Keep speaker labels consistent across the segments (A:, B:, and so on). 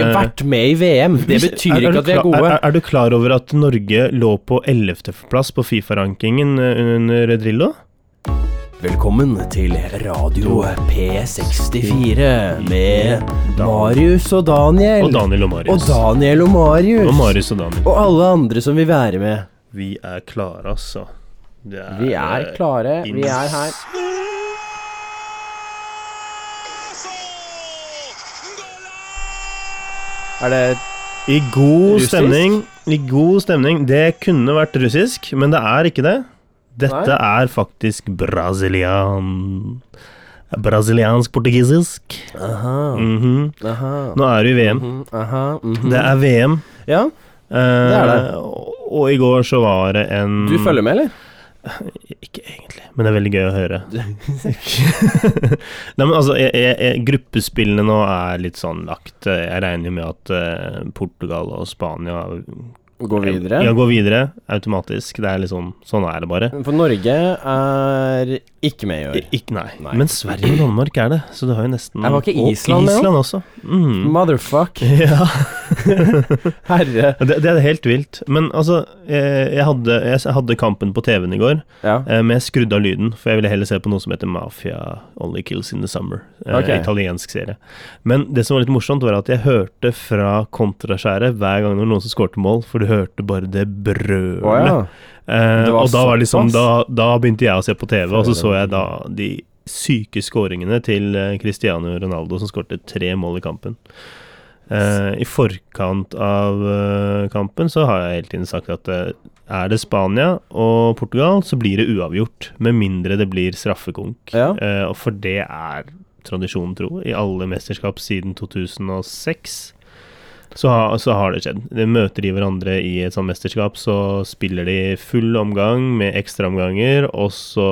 A: vært med i VM. Det betyr
B: Eh, Er- er
A: ikke
B: du
A: at vi er
B: klar-
A: gode.
B: Er, er du klar over at Norge lå på 11.-plass på Fifa-rankingen eh, under Drillo?
A: Velkommen til Radio P64 med Marius og Daniel.
B: Og Daniel og Marius.
A: Og Daniel og Marius.
B: Og Marius og Daniel.
A: Og alle andre som vil være med.
B: Vi er klare, altså. Det er, eh,
A: Vi er klare. Vi er her. Er det
B: I god
A: Russisk?
B: stemning. I god stemning. Det kunne vært russisk, men det er ikke det. Dette er faktisk brasilian. Brasiliansk-portugisisk.
A: Aha.
B: Mhm.
A: Aha.
B: Nå er det jo VM.
A: mhm, Aha. mhm.
B: Det er VM.
A: Ja,
B: Eh,
A: Det er det.
B: Og, og i går så var det en
A: du følger med, eller?
B: Ikke egentlig, men det er veldig gøy å høre. Nei, men altså, jeg, jeg, jeg, gruppespillene nå er litt sånn lagt. Eh, Jeg regner jo med at eh, Portugal og Spania
A: Gå videre.
B: Ja, går videre automatisk. Det er litt sånn, sånn er det bare.
A: For Norge er ikke med i år.
B: Ikke, nei.
A: Nei.
B: Men Sverige og Danmark er det, så du har jo nesten
A: Er det ikke Island
B: Og
A: med
B: Island også. Mm.
A: Motherfuck.
B: Ja,
A: Herre.
B: det, det er helt vilt. Men altså, eh, jeg hadde, jeg hadde kampen på TV-en i går.
A: Ja.
B: Eh, Men jeg skrudde av lyden, for jeg ville heller se på noe som heter Mafia Only Kills in the Summer. Eh,
A: Ok.
B: Italiensk serie. Men det som var litt morsomt, var at jeg hørte fra kontraskjæret hver gang det var noen som skårte mål, for du hørte bare det brølet.
A: Å ja.
B: eh,
A: Det var
B: og da, var liksom,
A: såpass?
B: da, da begynte jeg å se på TV, og så så jeg da de syke skåringene til eh, Cristiano Ronaldo, som skårte tre mål i kampen. Eh, I forkant av eh, kampen så har jeg hele tiden sagt at eh, er det Spania og Portugal, så blir det uavgjort. Med mindre det blir straffekonk.
A: Ja.
B: Eh, og for det er tradisjonen tro. I alle mesterskap siden 2006 så, ha, så har det skjedd. De møter de hverandre i et sånt mesterskap, så spiller de full omgang med ekstraomganger, og så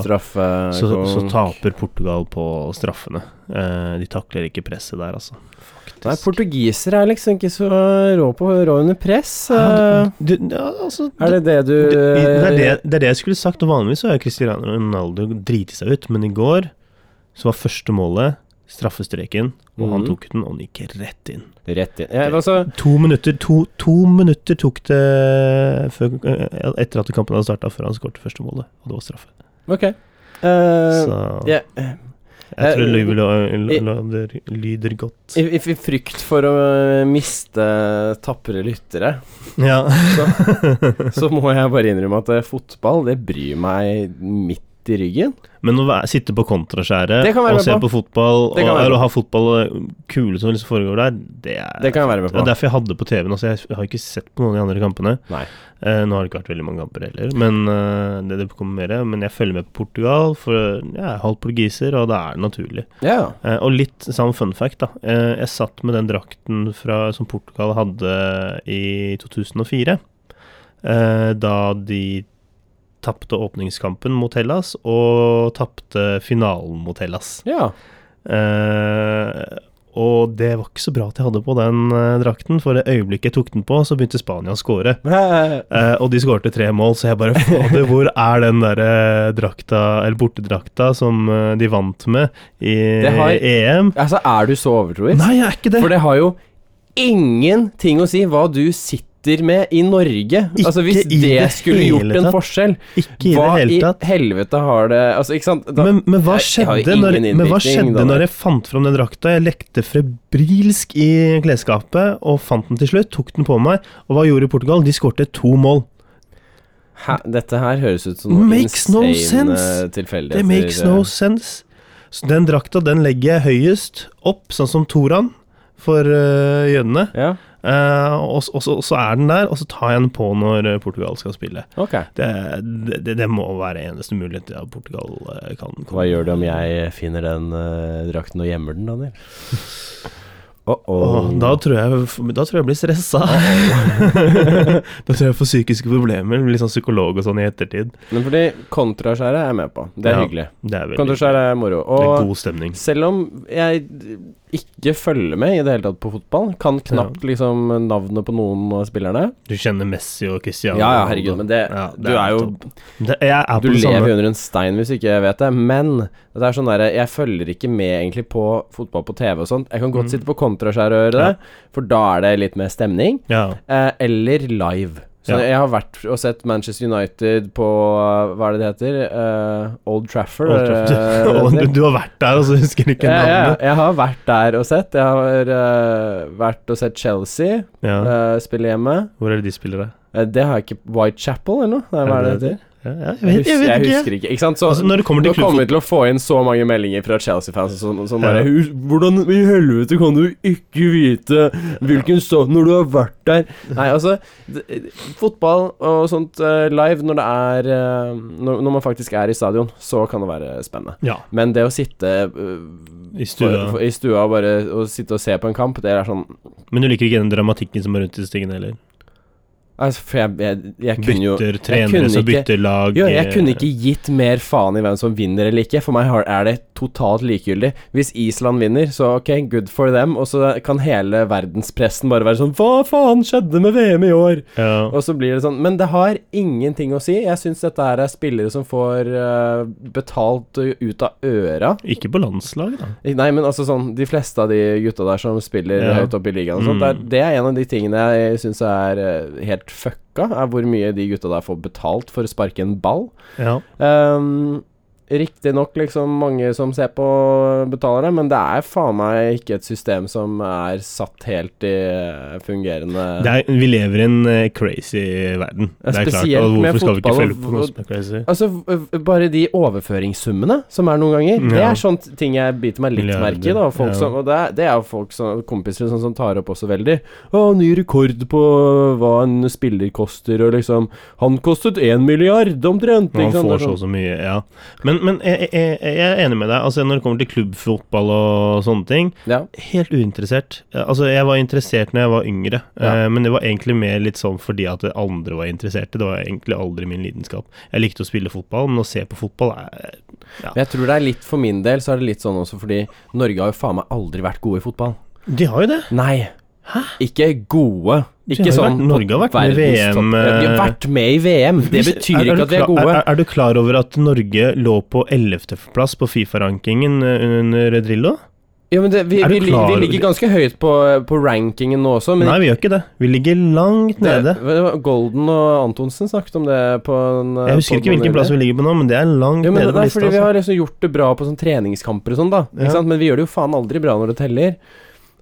A: Straffe
B: så, så
A: kom-
B: taper Portugal på straffene. Eh, de takler ikke presset der, altså.
A: Nei, portugisere er liksom ikke så rå på rå under press.
B: Ja,
A: eh.
B: du- du- ja, altså,
A: Er det det du eh,
B: Det, det, er det, det er det jeg skulle sagt, og vanligvis så er Cristiano Ronaldo driti seg ut, men i går så var første målet straffestreken, og han
A: Mhm.
B: tok den, og den gikk rett inn.
A: Rett inn. Ja, altså,
B: To minutter, to, to minutter tok det før, eh, etter at kampen hadde starta, før han skåret første målet, og det var straffe.
A: ok. Eh,
B: Så
A: ja,
B: jeg tror det
A: eh,
B: lyder,
A: eh,
B: lyder, lyder godt.
A: i, i, I frykt for å eh, miste tapre lyttere,
B: Ja.
A: så må jeg bare innrømme at eh, fotball, det bryr meg midt i ryggen.
B: Men å være, sitte på kontraskjæret
A: Det kan jeg være
B: og se
A: med
B: på, fotball, og,
A: Det kan jeg være
B: eller
A: med
B: ha fotball og kule som liksom foregår der, det er
A: Det kan jeg være med
B: Det
A: på.
B: er derfor jeg hadde på TV-en. Altså, jeg har ikke sett på noen av de andre kampene.
A: Nei.
B: Eh, nå har det ikke vært veldig mange kamper heller, men eh, det, det kommer mer. Men jeg følger med på Portugal, for jeg er halvt portugiser, og det er naturlig.
A: Ja.
B: Eh, og litt samme fun fact, da. Eh, jeg satt med den drakten fra, som Portugal hadde i 2004, eh, da de tapte åpningskampen mot Hellas, og tapte finalen mot Hellas.
A: ja.
B: Eh, og det var ikke så bra at jeg hadde på den eh, drakten, for det øyeblikket jeg tok den på, så begynte Spania å score.
A: Eh,
B: Eh, og de skårte tre mål, så jeg bare Fader, hvor er den der eh, drakta, eller bortedrakta, som eh, de vant med i E
A: Det har-
B: EM?
A: Altså, er du så overtroisk?
B: Nei, jeg er ikke det!
A: For det har jo ingenting å si hva du sitter med i Norge.
B: Ikke
A: altså, hvis
B: i
A: det,
B: det
A: skulle
B: hele
A: gjort en
B: tatt.
A: forskjell,
B: ikke i det
A: hva
B: hele
A: i
B: tatt.
A: helvete har det Altså, ikke sant? Da,
B: Men, men hva
A: Jeg- jeg har jo
B: skjedde, når,
A: ingen
B: men hva
A: innvirkning,
B: skjedde
A: da.
B: når jeg fant fram den drakta? Jeg lekte febrilsk i klesskapet og fant den til slutt. Tok den på meg. Og hva gjorde Portugal? De skårte to mål.
A: hæ, dette her høres ut som noe
B: Makes no
A: insane
B: sense.
A: eh, tilfeldigheter.
B: Det makes no sense. Så den drakta den legger jeg høyest opp, sånn som Toran for eh, jødene.
A: Ja,
B: Eh, og, s- og, så- og så er den der, og så tar jeg den på når eh, Portugal skal spille.
A: ok.
B: Det, det, det må være eneste mulighet til at Portugal eh, kan komme.
A: Hva gjør du om jeg finner den eh, drakten og gjemmer den, Daniel?
B: Åh, da, tror jeg, da tror jeg jeg blir stressa. da tror jeg jeg får psykiske problemer. Blir sånn psykolog og sånn i ettertid.
A: Men fordi kontraskjæret er jeg med på. Det er
B: Ja,
A: hyggelig.
B: Det er veldig
A: Kontraskjæret er moro.
B: det er
A: Og
B: god stemning.
A: selv om jeg ikke følger med i det hele tatt på fotball. Kan knapt liksom navnet på noen av spillerne.
B: Du kjenner Messi og Cristiano.
A: Ja, ja, herregud, men det,
B: Ja, det
A: Du er jo
B: topp. det, Jeg er på
A: Du
B: det
A: lever jo
B: samme.
A: under en stein hvis ikke jeg vet det, men det er sånn der, jeg følger ikke med egentlig på fotball på TV og sånt. Jeg kan godt
B: Mm.
A: sitte på kontraskjær og høre det, for da er det litt mer stemning.
B: Ja.
A: Eh, eller live. Så
B: Ja.
A: jeg har vært og sett Manchester United på eh, Hva er det det heter? Eh, Old Trafford?
B: Old
A: er det
B: Trafford.
A: det
B: Og
A: heter?
B: du, du har vært der, og så husker du ikke
A: eh, Ja, ja, ja.
B: navnet.
A: jeg har vært der og sett. Jeg har eh, vært og sett Chelsea
B: Ja.
A: eh, spille hjemme.
B: Hvor er det de spiller, da?
A: Eh, det har jeg ikke Whitechapel eller noe? Nei, hva er det det heter?
B: Ja, ja, jeg,
A: Jeg
B: vet, jeg
A: husker,
B: vet
A: jeg
B: ikke.
A: husker ikke. Ikke sant? Så,
B: Altså, når det kommer
A: nå
B: til
A: kommer
B: klubbfot
A: vi til å få inn så mange meldinger fra Chelsea-fans sånn, som, som
B: Ja.
A: bare «Hus- Hvordan i helvete kan du ikke vite hvilken stad når du har vært der? Nei, altså d- Fotball og sånt eh, live når det er eh, når, når man faktisk er i stadion, så kan det være spennende.
B: Ja,
A: Men det å sitte eh,
B: i stua.
A: For, for, I stua og bare å sitte og se på en kamp, det er sånn
B: Men du liker ikke den dramatikken som er rundt disse tingene heller?
A: altså, For jeg, jeg, jeg kunne jo
B: Bytter trenere
A: kunne
B: som
A: ikke-
B: bytter lag
A: Jo, jeg
B: eh,
A: kunne ikke gitt mer faen i hvem som vinner eller ikke. For meg har- er det totalt likegyldig. Hvis Island vinner, så ok, good for them. Og så kan hele verdenspressen bare være sånn Hva faen skjedde med VM i år?
B: eh, ja.
A: Og så blir det sånn Men det har ingenting å si. Jeg syns dette her er spillere som får eh, betalt eh, ut av øra.
B: Ikke på landslag, da.
A: Ik- Nei, men altså sånn De fleste av de gutta der som spiller
B: Ja.
A: høyt oppe i ligaen og sånt, det, er,
B: Mm.
A: det er en av de tingene jeg syns er eh, helt fucka, er hvor mye de gutta der får betalt for å sparke en ball.
B: Ja.
A: Um, Riktignok liksom mange som ser på, betaler det, men det er faen meg ikke et system som er satt helt i eh, fungerende
B: Det er, vi lever i en eh, crazy verden.
A: Ja,
B: Det er klart.
A: spesielt
B: Og
A: med
B: hvorfor skal vi ikke
A: fotball,
B: følge på noe
A: og-
B: som er crazy?
A: Altså, v- v- bare de overføringssummene som er noen ganger, det
B: Ja.
A: er sånt ting jeg biter meg litt
B: Milliarder,
A: merke i, da. Folk
B: ja.
A: som, og det er, det er jo folk som, kompiser sånn, som tar opp også veldig Å, ny rekord på hva en spiller koster, og liksom Han kostet én milliard, omtrent!
B: Man
A: ikke sant? Det er
B: får så
A: sånn-
B: og så mye, ja. Men, men jeg, jeg, jeg er enig med deg. Altså Når det kommer til klubbfotball og sånne ting,
A: Ja.
B: helt uinteressert. Eh, Altså, jeg var interessert når jeg var yngre,
A: Ja.
B: eh, men det var egentlig mer litt sånn fordi at andre var interesserte. Det var egentlig aldri min lidenskap. Jeg likte å spille fotball, men å se på fotball er
A: Men jeg tror det er litt for min del, så er det litt sånn også fordi Norge har jo faen meg aldri vært gode i fotball.
B: De har jo det!
A: Nei. Ikke gode.
B: De
A: Ikke
B: har jo
A: sånn
B: vært- Norge har vært med i
A: verdenstopp.
B: VM,
A: Ja, Vi har vært med i VM. Det
B: Hvis-
A: betyr
B: er- er
A: ikke
B: du
A: at vi er
B: klar-
A: gode.
B: Er, er du klar over at Norge lå på 11.-plass på Fifa-rankingen eh, under Drillo?
A: Ja, men det, vi,
B: Er du
A: vi, lig-
B: klar
A: vi
B: over-
A: ligger ganske høyt på, på rankingen nå også, men
B: Nei, vi gjør ikke det. Vi ligger langt nede.
A: Golden og Antonsen snakket om det på en eh,
B: Jeg husker ikke hvilken plass vi ligger på nå, men det er langt
A: jo, men
B: nede
A: det
B: på
A: er
B: lista.
A: fordi Vi
B: altså.
A: har liksom gjort det bra på sånn treningskamper og sånn, da.
B: Ja.
A: Ikke sant? Men vi gjør det jo faen aldri bra når det teller.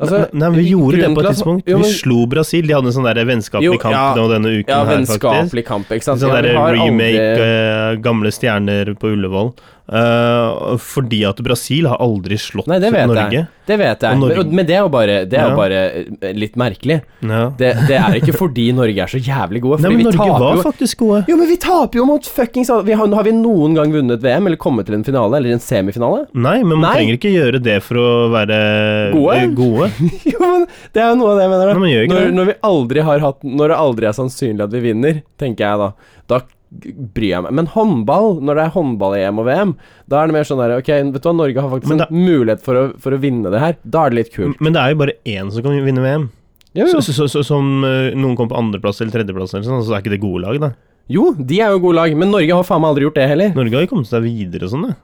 A: Altså,
B: nei, nei, men vi gjorde det
A: grunnen
B: på
A: til
B: et
A: at-
B: tidspunkt.
A: Jo, men-
B: Vi slo Brasil. De hadde en sånn der
A: Jo,
B: vennskapelig kamp
A: ja.
B: nå denne uken
A: Ja,
B: her, faktisk.
A: vennskapelig kamp, ikke sant.
B: Sånn
A: Ja, vi
B: der
A: har
B: remake
A: aldri-
B: eh, Gamle stjerner på Ullevål. Eh, fordi at Brasil har aldri slått
A: Nei, det vet
B: Norge.
A: jeg. Det vet jeg.
B: Og Norge-
A: Men- Men det er jo bare, det er
B: Ja.
A: jo bare litt merkelig.
B: Ja.
A: Det, det er ikke fordi Norge er så jævlig gode.
B: Nei,
A: fordi
B: men
A: vi
B: Norge
A: taper
B: var
A: jo
B: faktisk gode.
A: Jo, men vi taper jo mot fuckings vi har, har vi noen gang vunnet VM, eller kommet til en finale, eller en semifinale?
B: Nei, men man
A: Nei.
B: trenger ikke gjøre det for å være
A: Gode?
B: eh, gode.
A: jo, men det er jo noe av det jeg mener.
B: Nei,
A: da.
B: man gjør ikke
A: Når,
B: det.
A: når, vi aldri har hatt, når det aldri er sannsynlig at vi vinner, tenker jeg da, da bryr jeg meg. Men håndball, når det er håndball-EM og VM, da er det mer sånn der Ok, vet du hva, Norge har faktisk
B: Men da- Mm.
A: en mulighet for å, for å vinne det her. Da er det litt kult.
B: Men det er jo bare én som kan vinne VM.
A: Jo,
B: Så,
A: jo.
B: så, så, som eh, noen kommer på andreplass eller tredjeplass, eller sånn, så er ikke det gode lag, da.
A: jo, de er jo gode lag, men Norge har faen meg aldri gjort det heller.
B: Norge har jo kommet seg videre og sånn, da.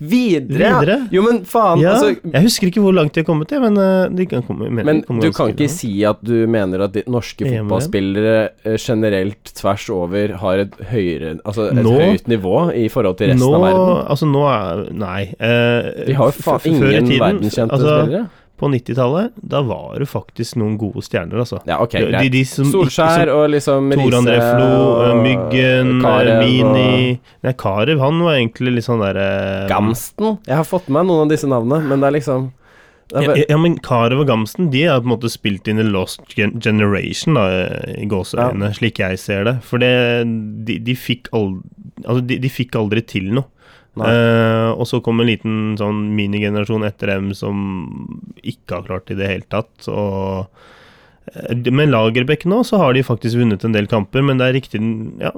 A: Videre! ja.
B: Videre?
A: Jo, men faen,
B: Ja,
A: altså
B: jeg husker ikke hvor langt de har kommet, jeg, men eh, de kan komme men,
A: Men
B: de kommer
A: du
B: ganske
A: kan ikke
B: langt.
A: si at du mener at de norske
B: EM.
A: fotballspillere eh, generelt tvers over har et høyere Altså et
B: Nå-
A: høyt nivå i forhold til resten
B: nå,
A: av verden?
B: Altså, nå er Nei. eh,
A: Vi har jo
B: f- f-
A: faen
B: før i
A: ingen
B: tiden, altså,
A: verdenskjente spillere.
B: På 90-tallet, da var det faktisk noen gode stjerner, altså.
A: Ja, ok,
B: De- de,
A: greit.
B: de som,
A: Solskjær
B: som,
A: og liksom
B: Tor
A: Riise
B: André Flo, eh,
A: og
B: Myggen,
A: Karev
B: eh, Mini
A: og
B: Nei, Karev, han var egentlig litt sånn derre
A: Gamsten. Jeg har fått med meg noen av disse navnene, men det er liksom det er
B: Ja,
A: bare,
B: ja, men Karev og Gamsten De har på en måte spilt inn i Lost Gen Generation, da, i gåseøynene, slik jeg ser det. For det, de, de, fikk aldri, altså de, de fikk aldri til noe.
A: Nei.
B: Eh, og så kom en liten sånn minigenerasjon etter dem som ikke har klart det i det hele tatt. Og eh, med Lagerbäck nå så har de faktisk vunnet en del kamper, men det er riktig ja,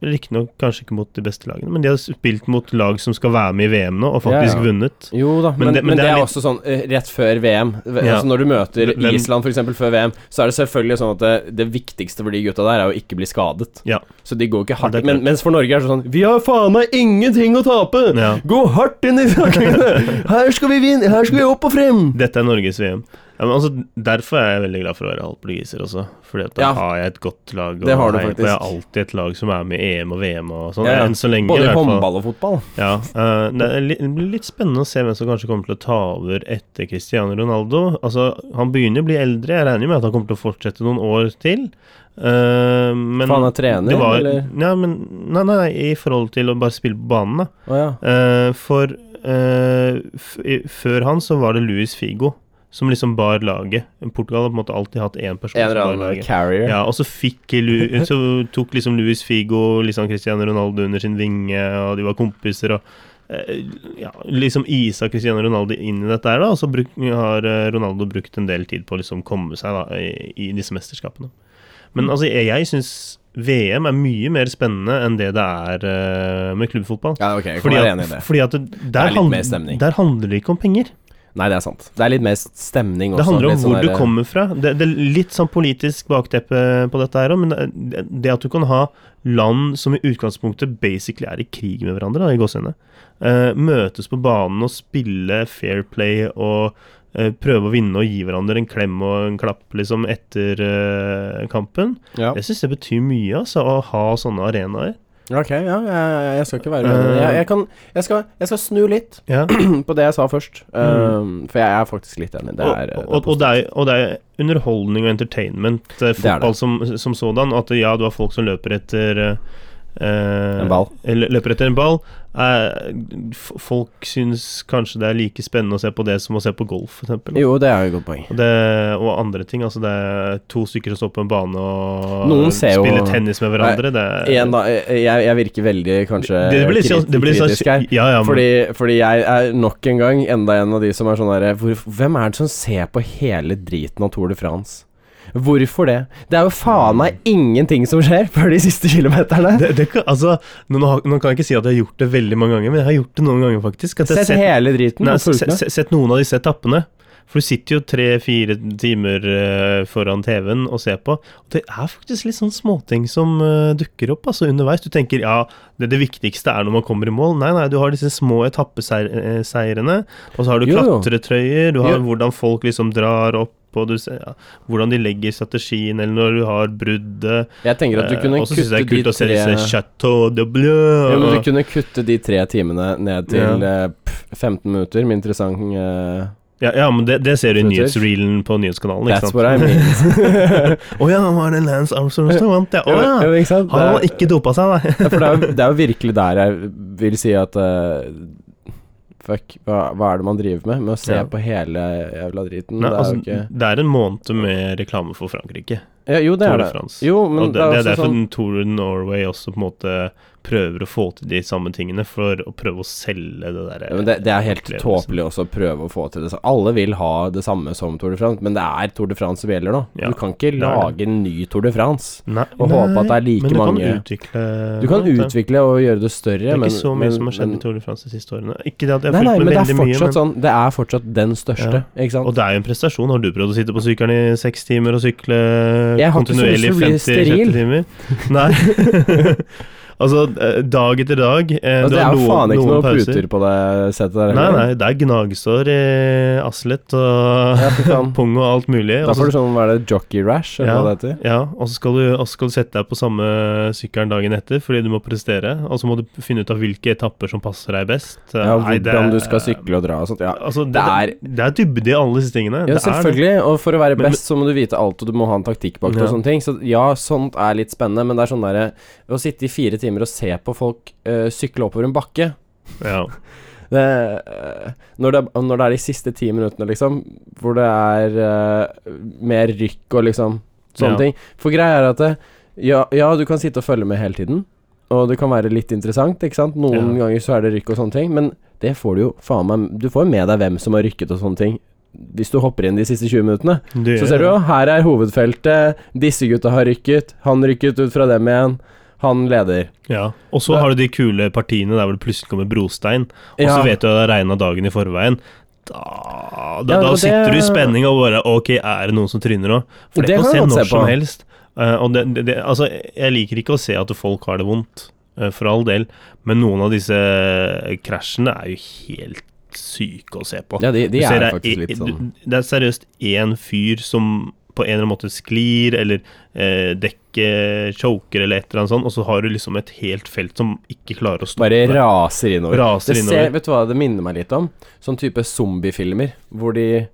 B: Riktignok kanskje ikke mot de beste lagene, men de har spilt mot lag som skal være med i VM nå, og faktisk
A: Ja, ja.
B: vunnet.
A: Jo da, men, men, det, er,
B: litt-
A: også sånn eh, rett før VM. V-
B: Ja.
A: Altså Når du møter
B: Hvem-
A: Island f.eks. før VM, så er det selvfølgelig sånn at det, det viktigste for de gutta der er å ikke bli skadet.
B: Ja.
A: Så de går ikke
B: Ja,
A: hardt.
B: det er
A: men,
B: klart.
A: mens for Norge er det sånn Vi har faen meg ingenting å tape!
B: Ja.
A: Gå hardt inn i forhandlingene! Her skal vi vinne! Her skal vi opp og frem!
B: Dette er Norges VM. Ja, men altså, derfor er jeg veldig glad for å være halvt portugiser også. Fordi at da
A: Ja.
B: har jeg et godt lag.
A: Det har du
B: heier på.
A: faktisk.
B: Jeg har alltid et lag som er med i EM og VM og sånn.
A: Ja, ja.
B: Enn så lenge,
A: Både
B: i
A: i
B: hvert fall.
A: håndball og fotball.
B: Ja, eh, det er li- det blir litt spennende å se hvem som kanskje kommer til å ta over etter Cristiano Ronaldo. Altså, Han begynner å bli eldre, jeg regner med at han kommer til å fortsette noen år til. Eh, men
A: For han er trener,
B: det var,
A: eller?
B: Ja, men, nei, nei, nei, i forhold til å bare spille på banen, da.
A: Å ja.
B: Eh, for eh, f i, før han så var det Luis Figo som liksom bar laget. Portugal har på en måte alltid hatt én person
A: En eller
B: som bar
A: annen
B: laget.
A: carrier.
B: Ja, og så, fikk Lu, så tok liksom Luis Figo liksom Cristiano Ronaldo under sin vinge, og de var kompiser. og eh, ja, liksom isa Cristiano Ronaldo inn i dette her, da, og så bruk, har eh, Ronaldo brukt en del tid på å liksom komme seg da, i, i disse mesterskapene. Men
A: Mm.
B: altså, jeg, jeg syns VM er mye mer spennende enn det det er eh, med klubbfotball.
A: Ja, ok, jeg kan
B: Fordi
A: være
B: at,
A: enig i det.
B: fordi at det, der,
A: er litt
B: hand-
A: mer stemning.
B: der handler det ikke om penger.
A: Nei, det er sant. Det er litt mer stemning også.
B: det handler om
A: litt sånn
B: hvor du
A: der-
B: kommer fra. Det, det er litt sånn politisk bakteppe på dette her òg, men det, det at du kan ha land som i utgangspunktet basically er i krig med hverandre, da, i gåsehudet, eh, møtes på banen og spille fair play og eh, prøve å vinne og gi hverandre en klem og en klapp liksom etter eh, kampen.
A: Ja.
B: Jeg syns det betyr mye, altså, å ha sånne arenaer.
A: Ok, ja, jeg, jeg skal ikke være uenig.
B: Eh.
A: Jeg, jeg, kan, jeg, skal, jeg skal snu litt
B: Ja.
A: på det jeg sa først. Um, for jeg er faktisk litt enig. Det er,
B: Mm. og, og, og, det er, og det er underholdning og entertainment. eh,
A: det.
B: Fotball som, som sådan. At ja, du har folk som løper etter eh, eh,
A: En ball.
B: eller Løper etter en ball. Eh, f- folk syns kanskje det er like spennende å se på det som å se på golf, f.eks.
A: Jo, det er jo et godt poeng.
B: Og, det, og andre ting. Altså det er to stykker som står på en bane og
A: Noen ser jo-
B: spiller tennis med hverandre. Det,
A: Igjen, da. Jeg, jeg virker veldig kanskje
B: det, det blir litt sånn
A: krit-
B: det blir sånn-
A: kritisk her.
B: Ja, ja, men-
A: Fordi, fordi jeg er nok en gang enda en av de som er sånn derre hvor- Hvem er det som ser på hele driten av Tour de France? Hvorfor det? Det er jo faen meg ingenting som skjer før de siste kilometerne.
B: det, det, kan- altså, nå, nå har- nå kan jeg ikke si at jeg har gjort det veldig mange ganger, men jeg har gjort det noen ganger, faktisk. At jeg har
A: Sett hele driten.
B: Nei,
A: og fulgt
B: se-
A: med.
B: se- sett noen av disse etappene. For du sitter jo tre-fire timer eh, foran TV-en og ser på. Og det er faktisk litt sånn småting som eh, dukker opp altså underveis. Du tenker ja, det, det viktigste er når man kommer i mål. Nei, nei, du har disse små etappeseirene. Og så har du
A: Jo, jo.
B: klatretrøyer, du har
A: Jo.
B: hvordan folk liksom drar opp. Og du ser, ja, hvordan de legger strategien, eller når du har bruddet.
A: Jeg tenker at du
B: Eh,
A: kunne
B: og så syns jeg det er
A: kutte de
B: kult å se
A: tre
B: disse Chateau de Bleu.
A: Ja, men
B: og-
A: du kunne kutte de tre timene ned til eh, pff, 15 minutter med interessant eh,
B: Ja, ja, men det, det ser du i
A: Footage.
B: nyhetsreelen på nyhetskanalen. ikke
A: That's
B: sant?
A: what I mean.
B: Å ja, var det Lance Armstrong som vant, ja. Å
A: Jo,
B: ja.
A: jo, ikke sant?
B: Han har
A: Det
B: ikke dopa seg, nei.
A: er- For det er, jo- det er jo virkelig der jeg vil si at eh, Fuck, hva, hva er det man driver med? Med å se
B: Ja.
A: på hele jævla driten? det
B: nei
A: er
B: altså,
A: jo ikke
B: det er en måned med reklame for Frankrike.
A: ja, Jo, det
B: Tour
A: er
B: de
A: det.
B: France.
A: Jo, men
B: og det, det er
A: også
B: derfor
A: sånn
B: Tour de Norway også på en måte prøver å få til de samme tingene, for å prøve å selge det der
A: ja, men det, det er helt
B: opplevelsen.
A: tåpelig også å prøve å få til det. Så Alle vil ha det samme som Tour de France, men det er Tour de France som gjelder nå.
B: Ja,
A: du kan ikke
B: det er det.
A: lage en ny Tour de France.
B: Nei,
A: Og håpe at det er like
B: men du
A: mange-
B: Kan utvikle,
A: Du kan
B: det.
A: utvikle og gjøre det større,
B: Det er ikke
A: men
B: så mye
A: men-
B: som har skjedd
A: men-
B: i Tour de France de siste årene. Ikke det at jeg
A: Nei,
B: har
A: nei, men
B: fulgt
A: det
B: med
A: er
B: veldig mye,
A: fortsatt
B: men
A: sånn Det er fortsatt den største, ikke sant?
B: Og det er jo en prestasjon. Har du prøvd å sitte på sykkelen i seks timer og sykle
A: Jeg har ikke så lyst til
B: kontinuerlig
A: å bli
B: 50-70
A: steril.
B: timer? Nei. altså, eh, dag etter dag. eh,
A: Altså,
B: du
A: det
B: har
A: er jo
B: noen-
A: faen ikke
B: noen
A: noen
B: pauser.
A: puter på det settet der.
B: Nei,
A: heller.
B: nei, det er gnagsår i Aslet og
A: Ja, fy faen.
B: pung og alt mulig.
A: Da
B: og så-
A: får du sånn, hva er det, jockey rash, eller
B: altså- Ja.
A: hva det heter?
B: Ja, og så skal, du- og så skal du sette deg på samme sykkelen dagen etter fordi du må prestere. Og så må du finne ut av hvilke etapper som passer deg best.
A: Ja,
B: Nei, det
A: hvordan
B: er-
A: du skal sykle og dra og sånt. Ja,
B: Altså, det,
A: Det
B: det er dybde i alle disse tingene.
A: ja
B: Det er det.
A: selvfølgelig. Og for å være
B: Men- men-
A: best, så må du vite alt, og du må ha en taktikk bak det og
B: Ja.
A: sånne ting. Så ja, sånt er litt spennende, men det er sånn derre Å sitte i fire timer og se på folk eh, sykle oppover en bakke
B: Ja.
A: det, eh, når, det, er- når det er de siste ti minuttene, liksom, hvor det er eh, mer rykk og liksom sånne
B: Ja.
A: ting. For greia er at det, ja, ja, du kan sitte og følge med hele tiden, og det kan være litt interessant, ikke sant. Noen
B: Ja.
A: ganger så er det rykk og sånne ting, men det får du jo faen meg Du får jo med deg hvem som har rykket og sånne ting. Hvis du hopper inn de siste 20 minuttene,
B: Du
A: så
B: gjør
A: ser du
B: det.
A: jo, her er hovedfeltet. Disse gutta har rykket. Han rykket ut fra dem igjen. Han leder.
B: Ja. Og så har du de kule partiene der hvor det plutselig kommer brostein, og så
A: Ja.
B: vet du at det har regna dagen i forveien. Da, da,
A: Ja,
B: da
A: og det-
B: sitter du i spenning og bare Ok, er det noen som tryner nå? For det,
A: Det
B: kan
A: kan
B: skje
A: jeg godt
B: når
A: se på.
B: som helst. Eh, og det, det, det, altså, jeg liker ikke å se at folk har det vondt, eh, for all del, men noen av disse eh, krasjene er jo helt syke å se på.
A: Ja, de, de
B: Du ser
A: er
B: det
A: faktisk
B: e-
A: litt
B: du-
A: sånn
B: Det er seriøst én fyr som på en eller annen måte sklir, eller eh, dekket choker, eller et eller annet sånt, og så har du liksom et helt felt som ikke klarer å stoppe.
A: Bare raser innover.
B: Raser
A: det ser,
B: innover.
A: Vet du hva det minner meg litt om? Sånn type zombiefilmer hvor de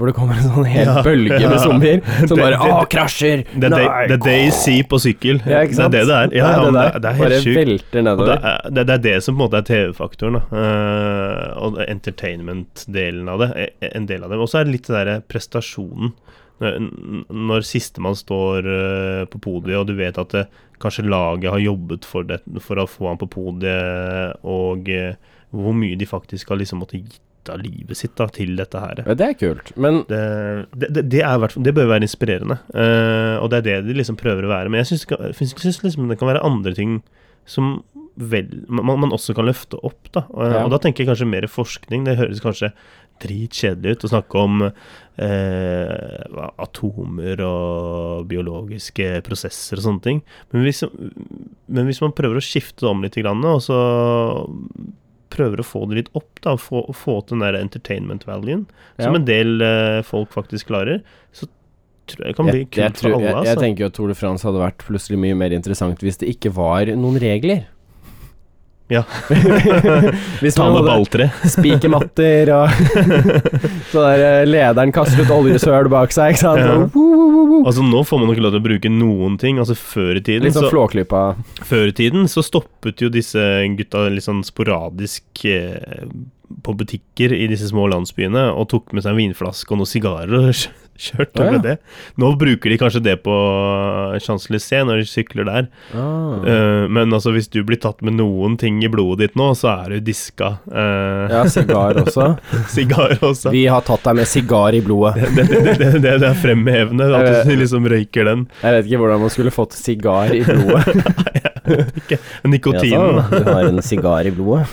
A: hvor det kommer en sånn hel
B: Ja.
A: bølge med zombier som
B: Det-
A: bare
B: det-
A: Å, krasjer!
B: Det er day- det er Daisy på sykkel.
A: Ja, ikke sant?
B: Det er det det er. Ja, ja, men det, er- det er
A: Bare
B: helt sjukt.
A: velter
B: Og Det
A: nedover.
B: er, det, det er det som på en måte er TV-faktoren, da. Eh, og det- entertainment-delen av det. eh, En del av det. Og så er det litt det derre prestasjonen. Når, n- når sistemann står eh, på podiet, og du vet at det, kanskje laget har jobbet for, det, for å få han på podiet, og eh, hvor mye de faktisk har liksom måttet gitt av livet sitt da, til dette her.
A: Ja, det er kult. Men
B: Det, det, det- det, er, i hvert fall- det bør være inspirerende, eh, og det er det de liksom prøver å være. Men jeg syns det kan- jeg syns- syns liksom det kan være andre ting som vel, man, man også kan løfte opp. Da. Og,
A: Ja.
B: og da tenker jeg kanskje mer forskning. Det høres kanskje dritkjedelig ut å snakke om eh, hva, atomer og biologiske prosesser og sånne ting. Men hvis, men hvis man prøver å skifte det om litt, grann, og så prøver å få det litt opp, da, få, få til den der entertainment-valuen, som
A: Ja.
B: en del eh, folk faktisk klarer, så tror jeg det kan bli
A: jeg,
B: kult
A: jeg, tror,
B: for alle.
A: jeg, jeg
B: Altså.
A: tenker jo at Tour de France hadde vært plutselig mye mer interessant hvis det ikke var noen regler.
B: Ja.
A: hvis
B: Ta
A: man
B: med
A: hadde
B: balltre.
A: spikermatter og Så der eh, lederen kaster ut oljesøl bak seg, ikke sant.
B: Ja.
A: Og woo, woo, woo, woo.
B: Altså, nå får man ikke lov til å bruke noen ting. Altså, før i tiden
A: Litt sånn
B: så
A: flåklypa.
B: Før i tiden så stoppet jo disse gutta litt sånn sporadisk eh, på butikker i disse små landsbyene og tok med seg en vinflaske og noen sigarer og kj- kjørte
A: Å, ja.
B: med det. Nå bruker de kanskje det på Champs-Élysées når de sykler der. Eh, men altså hvis du blir tatt med noen ting i blodet ditt nå, så er du diska. Eh,
A: Ja, sigar også.
B: Sigar også.
A: Vi har tatt deg med sigar i blodet.
B: Det, det, det, det, det, det er fremhevende at du
A: Eh,
B: liksom røyker den.
A: Jeg vet ikke hvordan man skulle fått sigar i blodet. sånn, altså.
B: Nikotinen. da.
A: du har en sigar i blodet.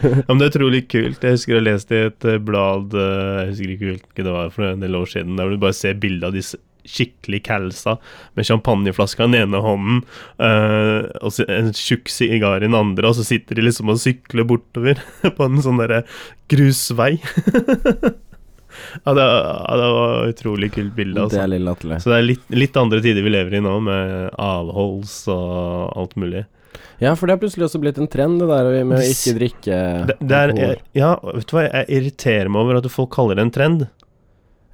B: Ja, men det er utrolig kult. Jeg husker jeg leste i et eh, blad eh, Jeg husker ikke hvilket det var for en del år siden. Der hvor du bare ser bilde av disse skikkelig calsa med champagneflaska i den ene hånden eh, og så en tjukk sigar i den andre, og så sitter de liksom og sykler bortover på en sånn derre grusvei. ja, det, ja, det var et utrolig kult bilde.
A: Det
B: Altså.
A: er lille Atle.
B: Så det er litt, litt andre tider vi lever i nå, med avholds og alt mulig.
A: Ja, for det har plutselig også blitt en trend, det der med å ikke drikke
B: Det, det er,
A: alkohol.
B: ja, vet du hva, jeg irriterer meg over at folk kaller det en trend.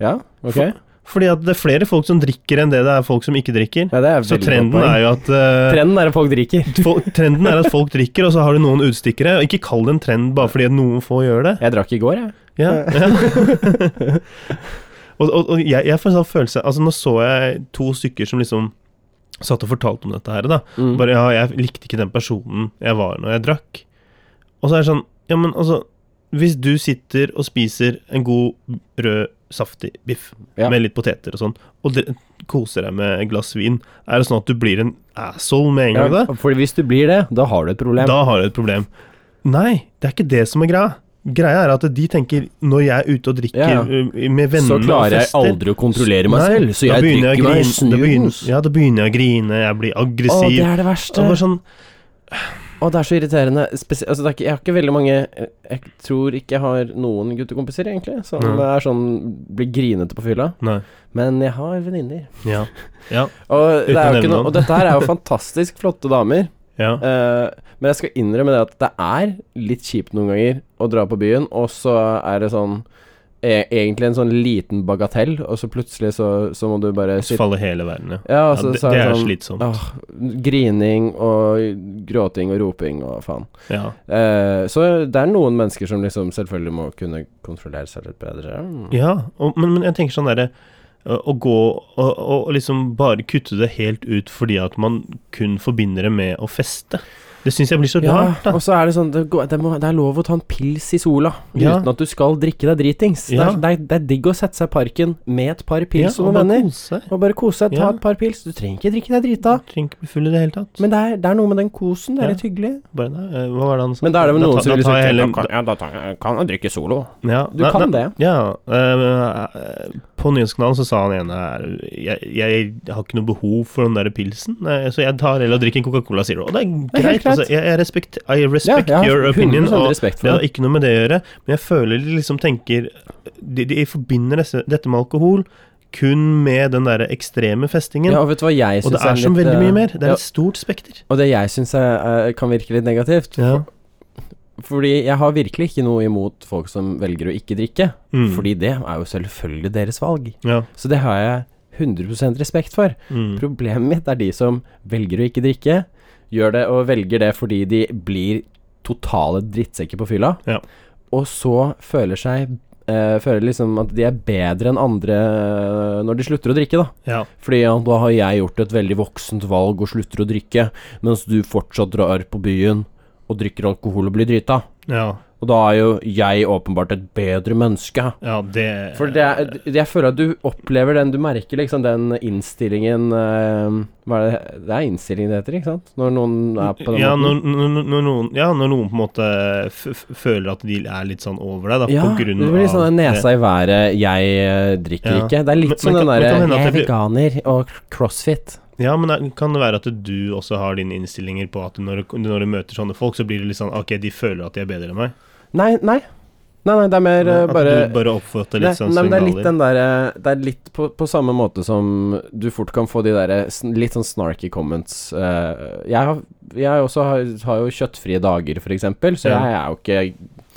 A: Ja, ok.
B: For- Fordi at det er flere folk som drikker enn det det er folk som ikke drikker.
A: Ja, det er
B: Så
A: veldig godt
B: trenden
A: poeng.
B: er jo at eh,
A: Trenden er at folk drikker.
B: folk, Trenden er at folk drikker, og så har du noen utstikkere. Og ikke kall det en trend bare fordi at noen få gjør det.
A: Jeg drakk i går, jeg.
B: Ja, ja. og og, og jeg, jeg får en sånn følelse Altså, nå så jeg to stykker som liksom satt og fortalte om dette her, da.
A: Mm.
B: Bare ja, jeg likte ikke den personen jeg var når jeg drakk. Og så er det sånn, ja, men altså Hvis du sitter og spiser en god, rød, saftig biff
A: Ja.
B: med litt poteter og sånn, og dre- koser deg med et glass vin, er det sånn at du blir en asshole med en gang da?
A: Ja, for hvis du blir det, da har du et problem.
B: Da har du et problem. Nei, det er ikke det som er greia. Greia er at de tenker når jeg er ute og drikker
A: Ja.
B: ø, med venner
A: så klarer
B: og
A: jeg
B: fester
A: aldri å kontrollere meg
B: Nei,
A: selv, så
B: da
A: jeg
B: begynner
A: drikker
B: å
A: meg
B: grine- da
A: snus.
B: begynner- Ja, da begynner jeg å grine, jeg blir
A: Å, det
B: aggressiv.
A: er det
B: det
A: verste.
B: var sånn
A: Å, det er så irriterende. Spesi altså, det er ikke, jeg har ikke veldig mange Jeg tror ikke jeg har noen guttekompiser, egentlig, som
B: Nei.
A: er sånn blir grinete på fylla.
B: Nei.
A: Men jeg har venninner.
B: Ja. Ja.
A: Og, det
B: Uten
A: er
B: å
A: jo ikke
B: nevne
A: noe- og
B: navn.
A: dette her er jo fantastisk flotte damer.
B: ja.
A: Eh, men jeg skal innrømme det at det er litt kjipt noen ganger å dra på byen, og så er det sånn e Egentlig en sånn liten bagatell, og så plutselig så, så må du bare
B: Så
A: sitte
B: faller hele verden, ja.
A: ja,
B: ja
A: så,
B: det,
A: så
B: det er
A: sånn,
B: slitsomt.
A: Åh, grining og gråting og roping og faen.
B: Ja.
A: Eh, så det er noen mennesker som liksom selvfølgelig må kunne kontrollere seg litt bedre.
B: ja og, men, men jeg tenker sånn derre ø, å gå og, og liksom bare kutte det helt ut fordi at man kun forbinder det med å feste. Det syns jeg blir så
A: Ja,
B: rart, da.
A: og så er det sånn det, går- det, må, det er lov å ta en pils i sola
B: Ja.
A: uten at du skal drikke deg dritings.
B: Ja.
A: Det, er, det, er, det er digg å sette seg i parken med et par pils
B: Ja,
A: og
B: bare
A: noen venner.
B: kose seg.
A: Og bare kose seg, ta
B: Ja.
A: et par pils. Du trenger ikke drikke deg drita,
B: Trenger ikke bli full i det hele tatt.
A: men det er, det er noe med den kosen. Det er
B: Ja.
A: litt hyggelig.
B: Bare, nei, eh, hva var det han sa?
A: Men da er det vel
B: Da
A: noen
B: ta-
A: som
B: da
A: vil
B: tar jeg
A: tenke
B: heller-
A: "Kan- Ja, da ta- kan jeg drikke solo.
B: Ja,
A: Du
B: nei,
A: kan
B: nei,
A: det.
B: Ja. eh, eh, på nyhetskanalen så sa han ene her jeg, jeg har ikke noe behov for den der pilsen, eh, så jeg tar heller og drikker en Coca-Cola Zero. Og
A: Det
B: det er
A: er helt
B: greit.
A: greit.
B: Altså, jeg, jeg respekt, I respect
A: ja,
B: your opinion.
A: 100%
B: Og
A: respekt
B: det
A: for
B: har
A: det.
B: ikke noe med det å gjøre, men jeg føler de liksom tenker De, de forbinder disse, dette med alkohol kun med den derre ekstreme festingen.
A: Ja, og vet du hva jeg
B: og
A: syns
B: det er som veldig
A: eh,
B: mye mer. Det er
A: ja,
B: et stort spekter.
A: Og det jeg syns kan virke litt negativt
B: Ja.
A: Fordi jeg har virkelig ikke noe imot folk som velger å ikke drikke.
B: Mm.
A: Fordi det er jo selvfølgelig deres valg.
B: ja.
A: Så det har jeg 100 respekt for.
B: Mm.
A: Problemet mitt er de som velger å ikke drikke, gjør det og velger det fordi de blir totale drittsekker på fylla,
B: Ja.
A: og så føler seg eh, Føler liksom at de er bedre enn andre eh, når de slutter å drikke, da.
B: ja.
A: Fordi ja, da har jeg gjort et veldig voksent valg og slutter å drikke, mens du fortsatt drar på byen og drikker alkohol og blir drita.
B: Ja.
A: Og da er jo jeg åpenbart et bedre menneske.
B: Ja, det
A: For det er, jeg føler at du opplever den Du merker liksom den innstillingen eh, Hva er det Det er innstillingen det heter, ikke sant? Når noen er på den
B: ja,
A: måten.
B: når, når, når, noen, ja, når noen på en måte f f føler at de er litt sånn over deg, da,
A: ja,
B: på grunn
A: det blir litt sånn den
B: av
A: nesa i været, jeg eh, drikker
B: Ja.
A: ikke. Det er litt
B: Men-
A: som
B: men
A: den
B: kan- men
A: derre
B: kan
A: Jeg
B: hende
A: er
B: at det blir-
A: veganer og crossfit.
B: Ja, men det kan det være at du også har dine innstillinger på at når du, når du møter sånne folk, så blir det litt sånn Ok, de føler at de er bedre enn meg.
A: Nei, nei. Nei, nei, det er mer eh,
B: At
A: bare
B: du bare oppfatter litt
A: Nei,
B: sånn
A: nei, men det er litt
B: signaler.
A: den derre Det er litt på, på samme måte som du fort kan få de derre sn- litt sånn snarky comments. Eh, jeg har, jeg også har, har jo kjøttfrie dager, for eksempel, så
B: Ja.
A: jeg er jo ikke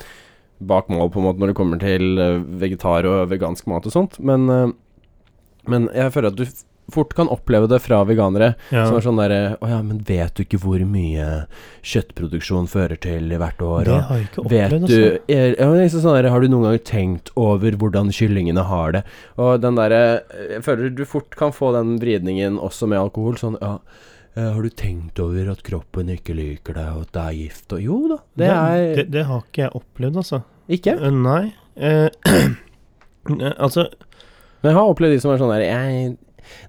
A: bak mål på en måte når det kommer til eh, vegetar og vegansk mat og sånt, men, eh, men jeg føler at du f- fort kan oppleve det fra veganere
B: Ja.
A: som er sånn derre Å ja, men vet du ikke hvor mye kjøttproduksjon fører til hvert år?
B: Det
A: og
B: har jeg ikke opplevd, altså.»
A: Vet du er, ja, men liksom sånn der, Har du noen gang tenkt over hvordan kyllingene har det? Og den derre eh, Jeg føler du fort kan få den vridningen også med alkohol. Sånn ja, eh, har du tenkt over at kroppen ikke liker deg, og at det er gift og Jo da, det er
B: det, det har ikke jeg opplevd, altså.
A: Ikke?
B: Eh, Nei. Eh, eh, altså
A: Men jeg har opplevd de som er sånn der jeg,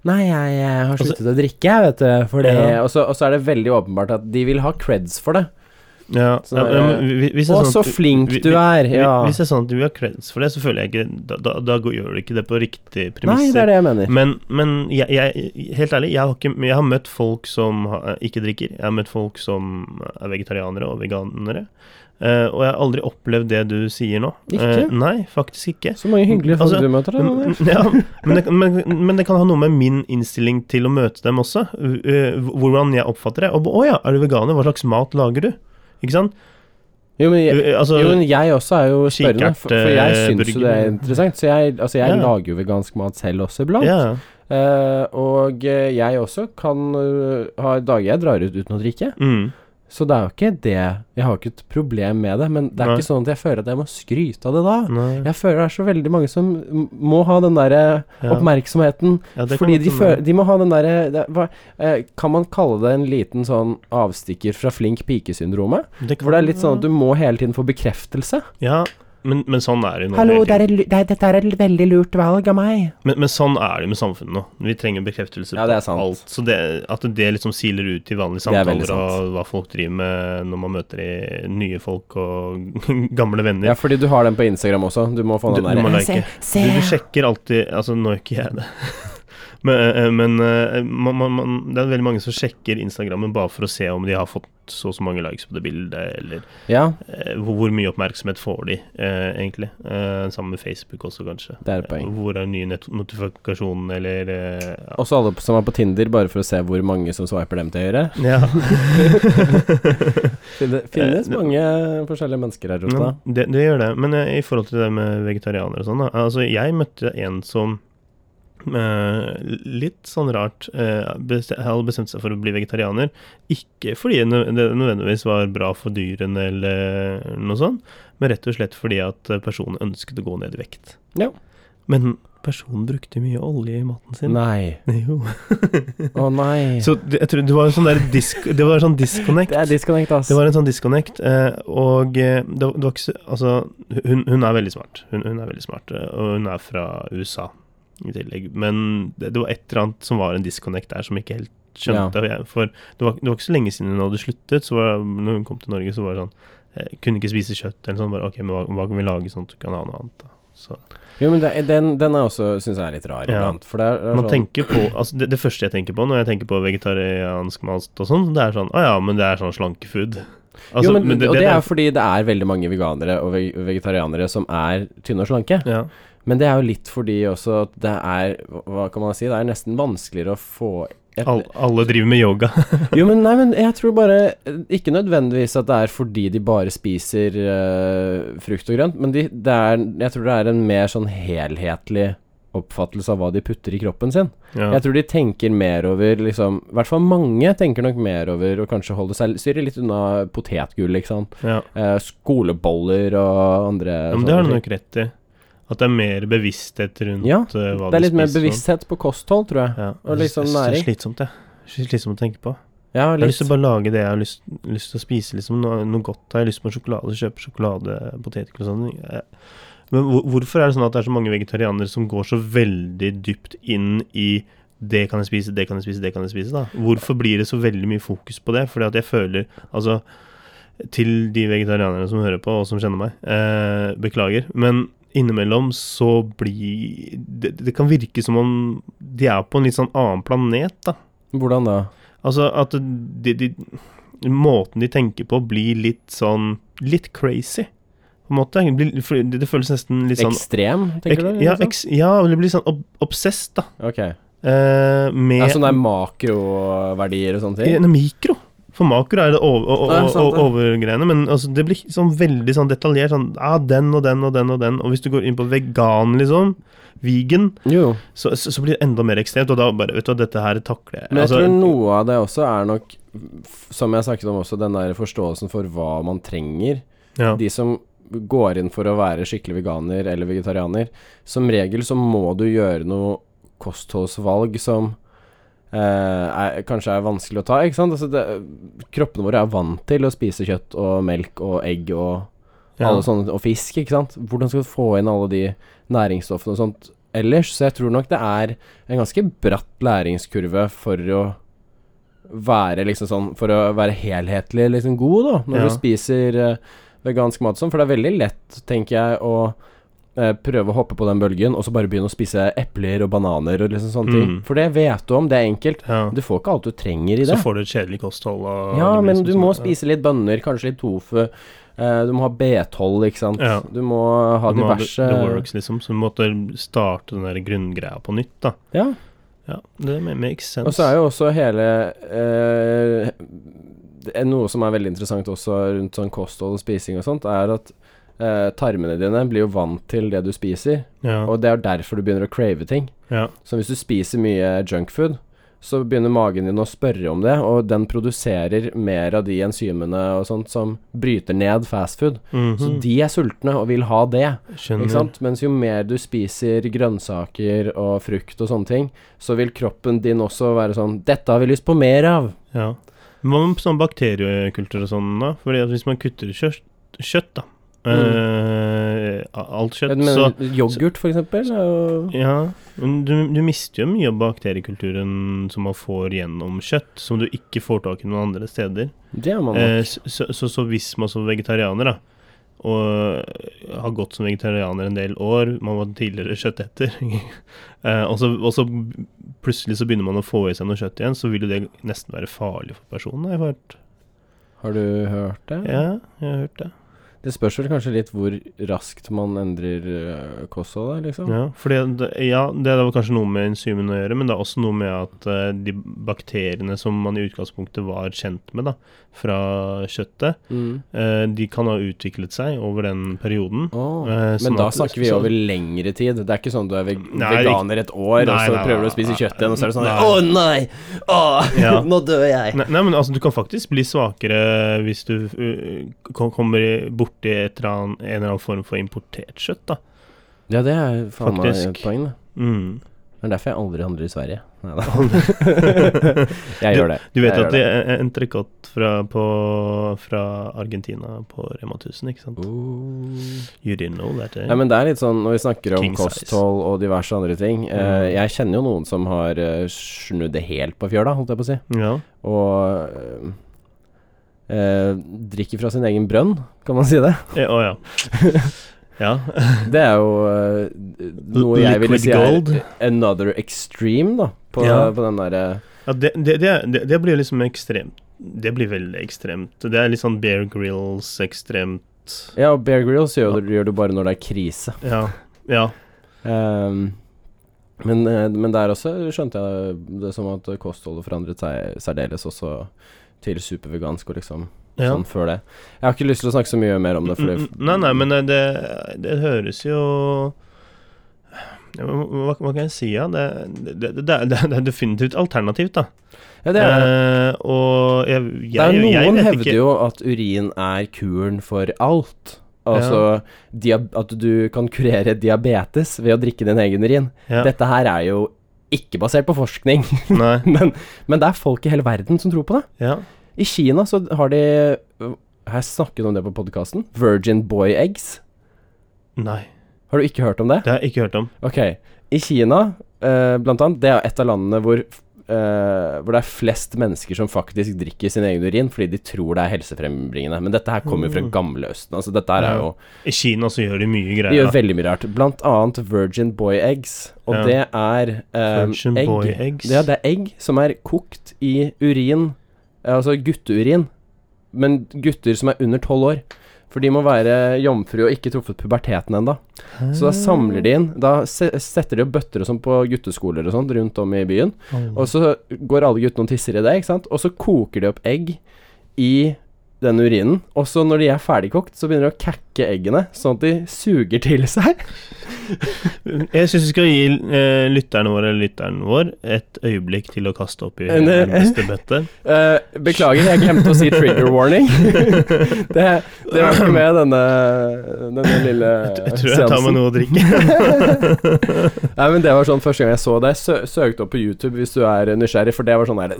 A: Nei, jeg, jeg har sluttet å drikke, jeg, vet du. For det
B: Altså Ja.
A: og, så, og så er det veldig åpenbart at de vil ha creds for det.
B: Ja.
A: Så det er-
B: ja, men hvi- hvis det er
A: Å,
B: sånn
A: så
B: at-
A: flink
B: vi-
A: du er!
B: Hvi-
A: Ja.
B: Hvis det er sånn at du har kreds for det, så føler jeg ikke Da, da, da går- gjør du ikke det på riktige
A: Nei, det
B: premisser.
A: er det jeg mener.
B: Men, men jeg, jeg, helt ærlig, jeg har, ikke, jeg har møtt folk som ha- ikke drikker. Jeg har møtt folk som er vegetarianere og veganere. Eh, og jeg har aldri opplevd det du sier nå.
A: Ikke?
B: Eh, nei, faktisk ikke.
A: Så mange hyggelige folk
B: Altså,
A: du møter, da. Daniel.
B: Men, ja, men, det, men, men det kan ha noe med min innstilling til å møte dem også. Uh, uh, Hvordan jeg oppfatter det. Og, å ja, er du veganer? Hva slags mat lager du? Ikke sant?
A: Jo, men jeg,
B: Uh, altså,
A: Jo, men jeg også er jo
B: Kikert,
A: spørrende, for, for jeg
B: eh,
A: syns jo det er
B: burger.
A: interessant. Så jeg, altså jeg
B: Ja.
A: lager jo vegansk mat selv også iblant.
B: ja.
A: Eh, og eh, jeg også kan eh, ha dager jeg drar ut uten å drikke.
B: Mm.
A: Så det er jo ikke det Jeg har ikke et problem med det, men det er
B: Nei. Mm.
A: ikke sånn at jeg føler at jeg må skryte av det da.
B: Nei.
A: Jeg føler det er så veldig mange som m- må ha den derre
B: Ja.
A: oppmerksomheten.
B: Ja, det kan
A: fordi
B: godt
A: de,
B: hende.
A: føler, de må ha den derre det- hva- eh, Kan man kalle det en liten sånn avstikker fra flink pike-syndromet?
B: kan-
A: Hvor det er litt sånn at du må hele tiden få bekreftelse.
B: Ja, men, men sånn er det jo nå.
A: Hallo,
B: hele tiden.
A: det er et lu- det er- dette er et veldig lurt valg av meg.
B: Men, men sånn er det med samfunnet nå. Vi trenger bekreftelse
A: Ja, det er sant.
B: på alt. Så det, at det liksom siler ut i vanlige
A: Det er veldig
B: samtaler og hva folk driver med når man møter i nye folk og gamle venner.
A: Ja, fordi du har den på Instagram også. Du må få
B: Du-
A: den
B: du må
A: der.
B: like. Du, du sjekker alltid Altså, nå gjør ikke jeg det. Men, eh, men eh, man, man, man, det er veldig mange som sjekker Instagrammen bare for å se om de har fått så og så mange likes på det bildet, eller
A: Ja,
B: eh, hvor, hvor mye oppmerksomhet får de, eh, egentlig. Eh, sammen med Facebook også, kanskje.
A: det er et poeng.
B: Hvor er nye net- notifikasjoner, eller eh, ja.
A: Også alle som er på Tinder, bare for å se hvor mange som swiper dem til høyre.
B: Ja.
A: Det finnes
B: Eh, det-
A: mange forskjellige mennesker her ute. da.
B: det, det gjør det. Men eh, i forhold til det med vegetarianere og sånn, da. Altså, jeg møtte en som eh, litt sånn rart eh, beste- hadde bestemt seg for å bli vegetarianer. Ikke fordi det nø- det nødvendigvis var bra for dyrene eller noe sånt, men rett og slett fordi at personen ønsket å gå ned i vekt.
A: Ja.
B: Men personen brukte mye olje i maten sin.
A: Nei.
B: Jo.
A: Å nei.
B: Så det, jeg tror det var en sånn der disk, Det var en sånn disconnect.
A: Det er disconnect, ass.
B: Det var en sånn disconnect, eh, og eh, det var, det var ikke så Altså, hun, hun er veldig smart. Hun, hun er veldig smart, eh, og hun er fra USA i tillegg. Men det, det var et eller annet som var en disconnect der som jeg ikke helt skjønte. og Jeg, for det var, det var ikke så lenge siden hun hadde sluttet, så var, når hun kom til Norge, så var det sånn eh, Kunne ikke spise kjøtt eller sånn. Bare OK, men hva, hva kan vi lage sånn at du kan ha noe annet, da? Så
A: Jo, men det, den, den er også, syns jeg er litt rar.
B: Ja.
A: iblant, For det er, det er
B: Man
A: sånn-
B: tenker på, altså det, det første jeg tenker på når jeg tenker på vegetariansk mat og sånn, det er sånn Å ja, men det er sånn slankefood. Altså,
A: jo, men,
B: men
A: og det er fordi det er veldig mange veganere og veg- vegetarianere som er tynne og slanke.
B: ja,
A: Men det er jo litt fordi også at det er Hva kan man si? Det er nesten vanskeligere å få jeg-
B: all, Alle driver med yoga.
A: Jo, men nei, men jeg tror bare eh, Ikke nødvendigvis at det er fordi de bare spiser eh, frukt og grønt, men de, det er, jeg tror det er en mer sånn helhetlig oppfattelse av hva de putter i kroppen sin.
B: Ja.
A: Jeg tror de tenker mer over liksom I hvert fall mange tenker nok mer over å kanskje holde seg styre litt unna potetgull, ikke sant.
B: Ja.
A: Eh, skoleboller og andre
B: ja, men det har
A: sånne
B: du
A: ting.
B: nok rett i. At det er mer bevissthet rundt
A: Ja,
B: eh, hva
A: Det er
B: du
A: litt mer
B: spiser. og-
A: bevissthet på kosthold, tror jeg.
B: Ja,
A: og
B: jeg
A: liksom
B: synes- jeg synes
A: næring.
B: Det er slitsomt, jeg. Jeg synes det er Slitsomt å tenke på.
A: Ja,
B: Jeg har lyst
A: litt.
B: til å bare lage det jeg har lyst, lyst til å spise, liksom. Noe, noe godt. Jeg har lyst på en sjokolade, kjøpe sjokolade, potetgull og sånn. Eh, Men hvor, hvorfor er det sånn at det er så mange vegetarianere som går så veldig dypt inn i det kan jeg spise, det kan jeg spise, det kan jeg spise, da? Hvorfor blir det så veldig mye fokus på det? Fordi at jeg føler Altså, til de vegetarianerne som hører på, og som kjenner meg, eh, beklager. Men innimellom så blir det, det kan virke som om de er på en litt sånn annen planet, da.
A: Hvordan da?
B: Altså at de, de, Måten de tenker på blir litt sånn Litt crazy, på en måte. Det blir- for Det, det føles nesten litt sånn
A: Ekstrem, tenker
B: ek-
A: du?
B: Ja,
A: liksom?
B: eks, ja, det blir sånn ob obsess, da.
A: Ok.
B: Eh, med
A: Ja, sånn der makroverdier og sånne
B: i-
A: ting?
B: nei, mikro. For makro er det over, o- o-
A: Ja, sant
B: o-
A: det.
B: overgreiene, men altså, det blir sånn veldig sånn detaljert. Sånn ah, den og den og den og den. Og hvis du går inn på vegan, liksom, vegan,
A: Jo.
B: så, så, så blir det enda mer ekstremt. Og da bare Vet du hva, dette her takler jeg.
A: Men jeg
B: Altså,
A: tror noe av det også er nok, f- som jeg snakket om også, den der forståelsen for hva man trenger.
B: ja.
A: De som går inn for å være skikkelig veganer eller vegetarianer, som regel så må du gjøre noe kostholdsvalg som eh, er, kanskje er vanskelig å ta, ikke sant? Altså det, kroppene våre er vant til å spise kjøtt og melk og egg og,
B: ja.
A: alle sånne, og fisk, ikke sant? Hvordan skal du få inn alle de næringsstoffene og sånt ellers? Så jeg tror nok det er en ganske bratt læringskurve for å være liksom sånn For å være helhetlig liksom god, da, når
B: Ja.
A: du spiser eh, vegansk mat og sånn. For det er veldig lett, tenker jeg, å eh, prøve å hoppe på den bølgen, og så bare begynne å spise epler og bananer og liksom sånne ting.
B: Mm.
A: For det vet du om, det er enkelt.
B: ja.
A: Du får ikke alt du trenger i det.
B: Så får du et kjedelig kosthold. Og
A: Ja,
B: det blir
A: men
B: liksom
A: du
B: sånn-
A: må
B: ja.
A: spise litt bønner, kanskje litt tofu. eh, Du må ha B12, ikke sant.
B: Ja.
A: Du må ha
B: Du må ha the-
A: diverse
B: The works, liksom. Så du måtte starte den der grunngreia på nytt, da.
A: Ja.
B: Ja, det ma- makes sense.
A: Og så er jo også hele eh, det er Noe som er veldig interessant også rundt sånn kosthold og spising og sånt, er at eh, tarmene dine blir jo vant til det du spiser,
B: ja,
A: og det er derfor du begynner å crave ting.
B: ja,
A: Så hvis du spiser mye junkfood, så begynner magen din å spørre om det, og den produserer mer av de enzymene og sånt som bryter ned fastfood. Så
B: Mhm,
A: de er sultne og vil ha det,
B: skjønner.
A: ikke sant? Mens jo mer du spiser grønnsaker og frukt og sånne ting, så vil kroppen din også være sånn 'Dette har vi lyst på mer av'.
B: Ja. Men hva med sånn bakteriekultur og sånn, da? Fordi at hvis man kutter kjøtt, kjøtt da eh, Alt kjøtt,
A: Mm. Men
B: så
A: yoghurt, for eksempel, er jo
B: ja, men du, du mister jo mye av bakteriekulturen som man får gjennom kjøtt, som du ikke får tak i noen andre steder.
A: Det er man
B: Eh,
A: nok.
B: s- så, så, så hvis man som vegetarianer da og eh, har gått som vegetarianer en del år, man var tidligere kjøtteter, eh, og, så, og så plutselig så begynner man å få i seg noe kjøtt igjen, så vil jo det nesten være farlig for personen. har Jeg har hørt.
A: Har du hørt det?
B: Ja, jeg har hørt det.
A: Det spørs vel kanskje litt hvor raskt man endrer øh, kosthold, da, liksom.
B: Ja, fordi, det- ja, det var kanskje noe med enzymene å gjøre, men det er også noe med at eh, de bakteriene som man i utgangspunktet var kjent med da, fra kjøttet,
A: Mm.
B: eh, de kan ha utviklet seg over den perioden.
A: Åh.
B: Eh, sånn
A: Men da
B: at-
A: snakker vi
B: så-
A: over lengre tid. Det er ikke sånn du er veg
B: Nei,
A: veganer et år,
B: Nei,
A: og så
B: nei, nei,
A: prøver du å
B: nei,
A: spise
B: nei.
A: kjøtt igjen, og så er det sånn
B: Nei.
A: Å nei! Åh,
B: Ja.
A: nå dør jeg!
B: Nei, nei, men altså, du kan faktisk bli svakere hvis du uh, kom- kommer i- borti et eller annet, en eller annen form for importert kjøtt, da.
A: Ja, det er faen meg
B: Faktisk.
A: et poeng, det.
B: Mm.
A: Det er derfor jeg aldri handler i Sverige. Nei da. jeg gjør det.
B: Du vet
A: jeg
B: at det er entrecôte fra, på- fra Argentina på Rema 1000, ikke sant?
A: Oh.
B: You didn't know that, eh?
A: Nei, men det er litt sånn når vi snakker om
B: King size.
A: kosthold og diverse andre ting eh,
B: Mm.
A: Jeg kjenner jo noen som har eh, snudd det helt på fjøla, holdt jeg på å si.
B: Ja.
A: Og eh, eh, drikker fra sin egen brønn, kan man si det.
B: Eh, Å ja. Ja.
A: Det er jo eh, noe jeg ville
B: Liquid
A: si er
B: gold.
A: another extreme, da. På,
B: Ja.
A: på den eh, derre
B: ja det, det, det, er- det, det blir liksom ekstremt. Det blir veldig ekstremt. Det er litt sånn Bear Grills ekstremt.
A: Ja, og Bear Grylls gjør, du- gjør du bare når det er krise.
B: Ja. ja.
A: Ehm, men, eh, men der også skjønte jeg det som at kostholdet forandret seg særdeles også til supervegansk og liksom
B: ja.
A: sånn før det. Jeg har ikke lyst til å snakke så mye mer om det, fordi
B: Mm, mm, Nei, nei, men eh, det, det høres jo Ja, men hva, hva kan jeg si, ja? Det, det, det, det, er- det er definitivt alternativt, da.
A: ja, det er det.
B: Eh, og jeg, jeg,
A: Det er jo
B: jeg
A: noen
B: vet
A: hevder
B: ikke
A: jo at urin er kuren for alt. Altså diab at du kan kurere diabetes ved å drikke din egen urin.
B: ja,
A: Dette her er jo ikke basert på forskning,
B: Nei.
A: men, men det er folk i hele verden som tror på det.
B: Ja.
A: I Kina så har de Her snakket vi om det på podkasten. Virgin boy eggs.
B: Nei.
A: Har du ikke hørt om det?
B: Det har jeg ikke hørt om.
A: Ok, i Kina eh, blant annet, det er et av landene hvor, eh, hvor det er flest mennesker som faktisk drikker sin egen urin fordi de tror det er helsefrembringende. Men dette her kommer jo fra
B: Mm.
A: gamleøsten. Altså, dette her er jo
B: I Kina så gjør de mye
A: De
B: greier.
A: gjør veldig mye rart. Blant annet virgin boy eggs, og
B: Ja.
A: det er eh,
B: Virgin
A: egg.
B: boy eggs.
A: Ja, det er egg som er kokt i urin, eh, altså gutteurin, men gutter som er under tolv år. For de må være jomfru og ikke truffet puberteten ennå. Så da samler de inn Da se- setter de opp bøtter og sånn på gutteskoler og sånt rundt om i byen. Og så går alle guttene og tisser i det, ikke sant. Og så koker de opp egg i den urinen. Og så når de er ferdigkokt, så begynner de å kakke eggene, sånn at de suger til seg.
B: Jeg syns vi skal gi eh, lytterne våre eller lytteren vår et øyeblikk til å kaste opp i
A: En, eh,
B: nærmeste bøtte.
A: Eh, beklager, jeg glemte å si trigger warning. det, det var ikke med denne, denne lille
B: Jeg tror jeg tar meg noe å drikke.
A: Nei, men det var sånn første gang jeg så det. Sø søkte opp på YouTube hvis du er nysgjerrig, for det var sånn der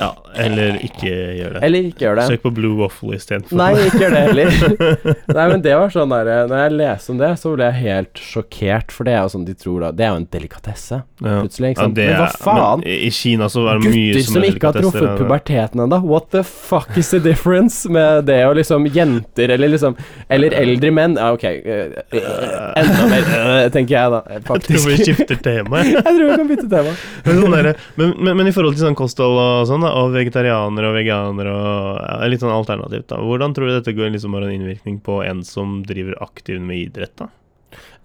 B: Ja, eller ikke gjør det.
A: Eh, Eller ikke gjør det.
B: Søk på Blue Waffle istedenfor.
A: Nei, ikke gjør det heller. Nei, men det var sånn der, Når jeg leste om det, så ble jeg helt sjokkert, for det er jo sånn de tror da Det er jo en delikatesse,
B: Ja.
A: plutselig. ikke
B: Ja,
A: sant?
B: det
A: men hva
B: er-
A: faen?
B: men I Kina så var det mye
A: Gutter som ikke
B: er
A: har
B: delikatesser,
A: truffet
B: ja, det-
A: puberteten ennå, what the fuck is the difference med det og liksom jenter eller liksom Eller eldre menn? Ja, ok, eh, eh, enda mer, eh, tenker jeg da,
B: Jeg tror vi
A: faktisk.
B: skifter tema. jeg.
A: Jeg tror vi kan bytte tema.
B: Men, sånn derre- men, men, men i forhold til sånn kosthold og sånn, da, og vegetarianere og veganere og ja, litt sånn alternativt, da. Hvordan tror du dette går, liksom, har en innvirkning på en som driver aktivt med idrett, da?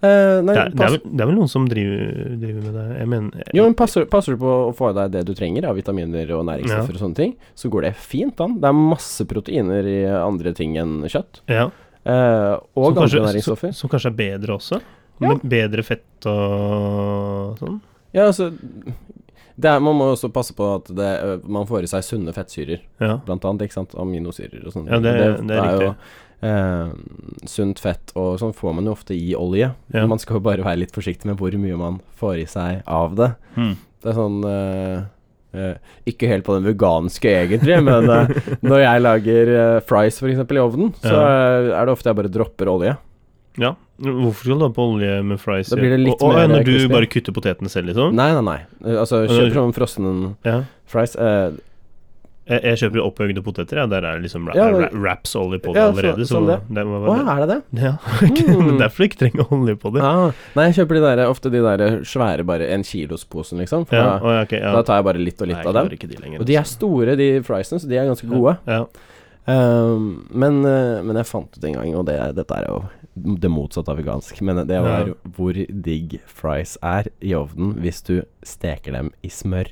A: Eh, nei,
B: Det er, det er,
A: pass,
B: vel, det er vel noen som driver, driver med det? Jeg mener
A: jo, men passer, passer du på å få i deg det du trenger av vitaminer og næringsstoffer og sånne ting, så går det fint an. Det er masse proteiner i andre ting enn kjøtt.
B: ja,
A: eh, og
B: som,
A: andre
B: kanskje, som,
A: næringsstoffer.
B: som kanskje er bedre også?
A: Ja.
B: Med bedre fett og sånn?
A: Ja, altså det er, Man må også passe på at det, ø, man får i seg sunne fettsyrer.
B: Ja.
A: blant annet, ikke sant, aminosyrer og sånn.
B: Ja, det- det er riktig.
A: jo eh, sunt fett, og sånn får man jo ofte i olje.
B: Ja.
A: Man skal jo bare være litt forsiktig med hvor mye man får i seg av det.
B: Hmm.
A: Det er sånn eh, eh, Ikke helt på den veganske egentlig, men eh, når jeg lager eh, fries for eksempel i ovnen, så eh, er det ofte jeg bare dropper olje.
B: ja. Hvorfor skal du ha på olje med fries?
A: Da blir det litt
B: og, og,
A: mer
B: Når du
A: crispy.
B: bare kutter potetene selv, liksom?
A: Nei, nei, nei. Eh, Altså, kjøper sånn frossen
B: Ja.
A: fries. eh,
B: Jeg, jeg kjøper opphøyde poteter, ja. Der er det liksom ra
A: Ja,
B: ra-
A: men-
B: wraps olje på det
A: Ja, så-
B: allerede. Så,
A: sånn det.
B: det må
A: Å
B: være-
A: ja, er det det?
B: Ja, men
A: Mm.
B: derfor du ikke trenger olje på det.
A: Ah, nei, jeg kjøper de der, ofte de der svære, bare en kilosposen, liksom. For
B: Ja,
A: da-
B: å, ja, ok, ja.
A: Da tar jeg bare litt og litt
B: Nei,
A: av
B: jeg
A: dem.
B: klarer ikke de lenger, altså.
A: Og de er store, de friesene, så de er ganske gode.
B: Ja.
A: Ehm, men, eh, men jeg fant ut en gang, og det, dette er jo det motsatte av vegansk, men det var
B: Ja.
A: hvor digg fries er i ovnen hvis du steker dem i smør.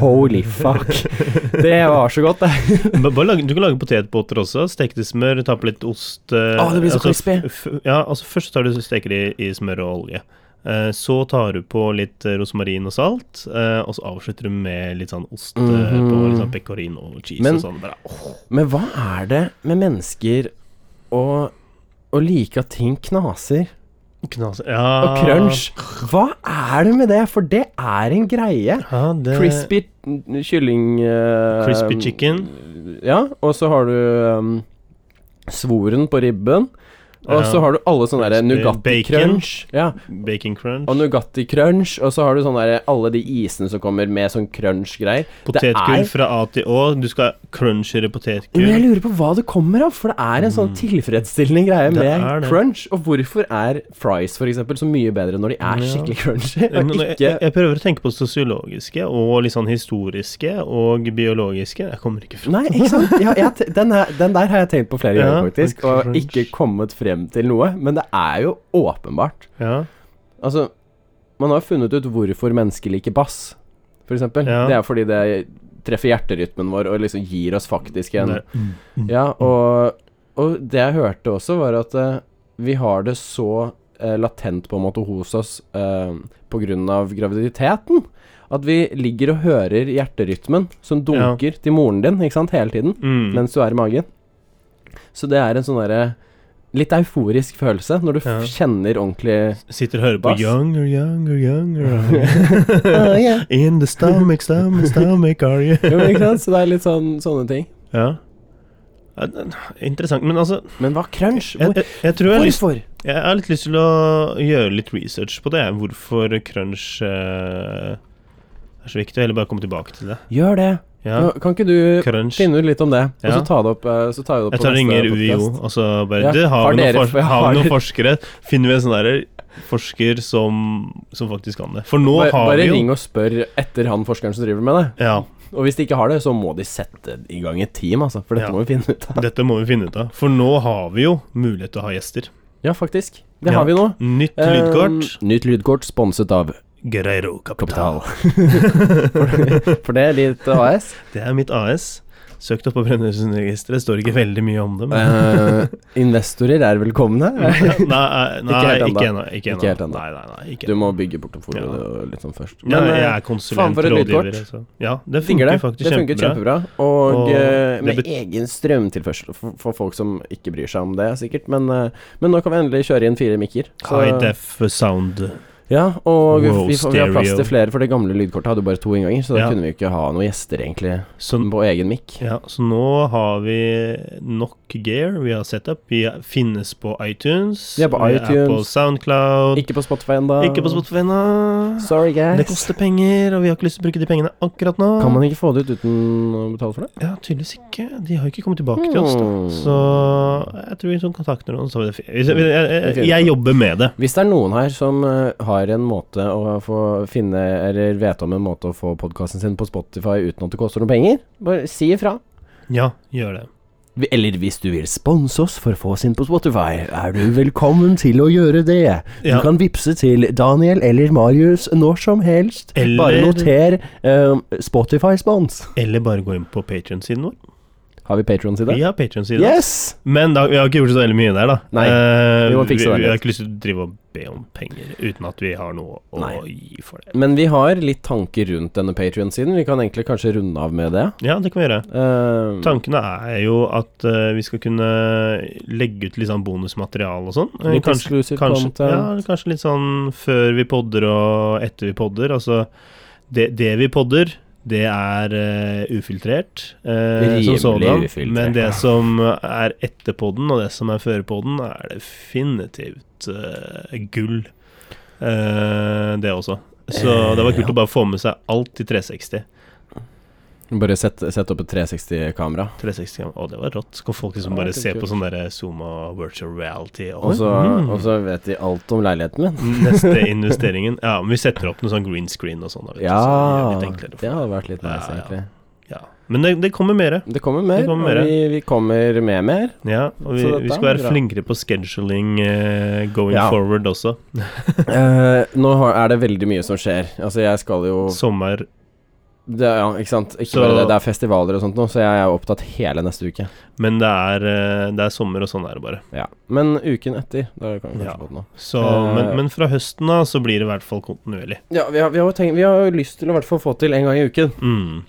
A: Holy fuck! Det var så godt, det.
B: Ba- Bare lage, du kan lage potetbåter også. Stekte smør, ta på litt ost. eh,
A: Å, det blir så crispy.
B: f- f- Ja, altså Først tar du steker i, i smør og olje. Eh, så tar du på litt eh, rosmarin og salt, eh, og så avslutter du med litt sånn ost eh, på
A: Mhm.
B: litt sånn pecorino og cheese
A: Men-
B: og sånn. Bare, åh.
A: Men hva er det med mennesker og å like at ting knaser?
B: Knas ja.
A: Og crunch. Hva er det med det? For det er en greie.
B: Ja, det,
A: Crispy n- kylling eh,
B: Crispy chicken.
A: Ja, og så har du ehm, svoren på ribben. Og
B: Ja.
A: så har du alle sånne der
B: Crispy
A: Nugatti
B: bacon.
A: crunch. Ja,
B: Bacon crunch.
A: og Nugatti crunch, og så har du sånne der, alle de isene som kommer med sånn crunch-greier. Det
B: Potetgull
A: er-
B: fra A til Å. Du skal crunchere
A: Men jeg
B: potetgull.
A: lurer på hva det kommer av, for det er en sånn tilfredsstillende greie
B: Mm. Det er
A: med
B: det.
A: crunch. Og hvorfor er fries for eksempel så mye bedre når de er
B: Ja.
A: skikkelig crunchy?
B: Eh, Men
A: Og
B: jeg,
A: ikke
B: jeg prøver å tenke på det sosiologiske og litt sånn historiske og biologiske. Jeg kommer ikke fra
A: Nei, ikke sant? Ja, jeg, te- den, er, den der har jeg tenkt på flere
B: Ja,
A: ganger, faktisk, og
B: crunch.
A: ikke kommet frem til noe. Men det er jo åpenbart.
B: ja.
A: Altså, man har funnet ut hvorfor mennesker liker bass, for eksempel.
B: Ja.
A: Det er fordi det treffer hjerterytmen vår og liksom gir oss faktisk en
B: Det- mm, mm.
A: Ja, og, og det jeg hørte også, var at eh, vi har det så eh, latent på en måte hos oss eh, på grunn av graviditeten. At vi ligger og hører hjerterytmen som dunker til moren din ikke sant, hele tiden
B: Mm.
A: mens du er i magen. Så det er en sånn derre litt euforisk følelse når du f
B: Ja.
A: kjenner ordentlig
B: Sitter og hører på
A: Bass.
B: Younger, younger, younger In the stomach, stomach, stomach are you
A: jo, ikke sant? Så det er litt sånn, sånne ting.
B: Ja. Ja, det- Interessant. Men altså,
A: Men hva crunch?
B: jeg,
A: Hvor,
B: jeg, jeg tror jeg har, lyst,
A: hvorfor?
B: jeg har litt lyst til å gjøre litt research på det. jeg. Hvorfor crunch eh, er så viktig. Eller bare komme tilbake til det.
A: Gjør det.
B: Ja,
A: Nå, Kan ikke du
B: crunch.
A: finne ut litt om det, og
B: Ja.
A: så ta det opp, eh, så tar vi det opp
B: Jeg tar og ringer UiO,
A: podcast?
B: og så bare
A: Ja,
B: Du, har
A: har
B: vi noen,
A: dere-
B: for, har
A: har
B: vi noen
A: dere-
B: forskere? Finner vi en sånn derre forsker som, som faktisk kan det? For nå
A: Bare,
B: har
A: bare
B: vi jo
A: ring og spør etter han forskeren som driver med det.
B: Ja,
A: Og hvis de ikke har det, så må de sette i gang et team, altså. For dette
B: Ja.
A: må vi finne ut av.
B: dette må vi finne ut av. For nå har vi jo mulighet til å ha gjester.
A: Ja, faktisk. Det
B: Ja.
A: har vi nå.
B: Nytt
A: Eh,
B: lydkort.
A: nytt lydkort sponset av
B: Greiro Kapital.
A: Kapital. for, for det er ditt AS.
B: Det er mitt AS. Søkt opp på Brønnøysundregisteret. Står ikke veldig mye om dem.
A: Eh, investorer er velkomne.
B: nei, nei,
A: helt ennå.
B: ikke ennå. Ikke
A: Ikke helt
B: ennå.
A: ennå.
B: Nei, nei, nei, ikke
A: Du
B: ennå.
A: må bygge portefølje
B: Ja.
A: og litt sånn først.
B: Ja,
A: Men
B: jeg
A: eh,
B: er konsulent,
A: faen for et
B: rådgiver.
A: lydkort.
B: altså. Ja, det
A: digger
B: funker
A: det.
B: faktisk
A: det funker
B: kjempebra.
A: kjempebra. Og,
B: Og
A: eh,
B: det
A: med
B: bet-
A: egen strømtilførsel for, for folk som ikke bryr seg om det, sikkert. Men, eh, men nå kan vi endelig kjøre inn fire mikker. Så-
B: High def sound.
A: Ja, og vi,
B: Wow,
A: vi, får- vi har plass
B: stereo.
A: til flere, for det gamle lydkortet hadde bare to innganger, så da
B: Ja.
A: kunne vi jo ikke ha noen gjester, egentlig,
B: Så
A: på egen mic.
B: Ja, så nå har vi nok gear. Vi har setup. Vi finnes på iTunes.
A: Vi er på
B: Vi er på
A: iTunes.
B: Soundcloud. Ikke,
A: Ikke på Spotify ennå.
B: på Spotify ennå.
A: Sorry,
B: Det
A: guys.
B: koster penger, og vi har ikke lyst til å bruke de pengene akkurat nå.
A: Kan man ikke få det ut uten å betale for det?
B: Ja, tydeligvis ikke. De har jo ikke kommet tilbake til oss, da.
A: Hmm.
B: Så jeg tror vi sånn kontakter noen, så har vi det fint. Jeg, jeg,
A: fint.
B: jeg jobber med det.
A: Hvis det er noen her som eh, har en måte å få finne, eller vet om en måte å få podkasten sin på Spotify uten at det koster noen penger, bare si ifra.
B: Ja, gjør det.
A: Vi- Eller hvis du vil sponse oss for å få oss inn på Spotify, er du velkommen til å gjøre det. Du
B: Ja.
A: kan vippse til Daniel eller Marius når som helst.
B: Eller-
A: Bare noter eh, Spotify-spons.
B: Eller bare gå inn på Patrion-siden vår.
A: Har vi Patron-side?
B: Vi har Patrion-side.
A: Yes!
B: Men da, vi har ikke gjort så veldig mye der, da.
A: Nei,
B: Eh,
A: vi må fikse
B: vi,
A: det
B: vi har
A: litt.
B: ikke lyst til å drive og be om penger uten at vi har noe å
A: Nei.
B: gi for det.
A: Men vi har litt tanker rundt denne Patron-siden. Vi kan egentlig kanskje runde av med det.
B: Ja, det kan vi gjøre.
A: Eh,
B: Tankene er jo at eh, vi skal kunne legge ut litt sånn bonusmateriale og sånn. Eh,
A: Litt
B: kanskje,
A: exclusive
B: kanskje,
A: content.
B: ja, kanskje litt sånn før vi podder og etter vi podder. Altså, det, det vi podder, det er eh, ufiltrert. eh, som
A: Rimelig
B: sådan.
A: ufiltrert.
B: Men det som er etter podden, og det som er før podden, er definitivt eh, gull. Eh, det også. Så det var
A: Eh,
B: kult
A: ja.
B: å bare få med seg alt i 360.
A: Bare sette sett opp et 360-kamera.
B: 360 ganger. Å, det var rått. Så kan folk liksom
A: Ja,
B: bare
A: det er
B: se på
A: kult.
B: sånn derre Zoom og virtual reality.
A: Og så
B: Mm.
A: og så vet de alt om leiligheten min.
B: Neste investeringen. Ja, men vi setter opp noe sånn green screen og sånn. da, vet du, så
A: Ja,
B: det er litt enklere
A: det
B: for-
A: hadde vært litt nice,
B: Ja, ja.
A: egentlig.
B: ja. Men det, det kommer mer.
A: Det kommer mer,
B: Det kommer mer,
A: og vi, vi kommer med mer.
B: Ja, og vi,
A: Så dette
B: vi skal
A: er
B: være
A: bra.
B: flinkere på scheduling eh, going
A: Ja.
B: forward også.
A: Eh, nå har, er det veldig mye som skjer. Altså, jeg skal jo
B: Sommer
A: det, Ja, ikke sant. Ikke
B: Så-
A: bare det, det er festivaler og sånt nå, så jeg er opptatt hele neste uke.
B: Men det er, eh, det er sommer, og sånn er det bare.
A: Ja. Men uken etter, da kan vi kanskje
B: Ja.
A: få det nå.
B: Så,
A: Eh.
B: men, men fra høsten av så blir det i hvert fall kontinuerlig.
A: Ja, vi har, vi, har jo tenkt, vi har jo lyst til å i hvert fall få til en gang i uken.
B: Mm.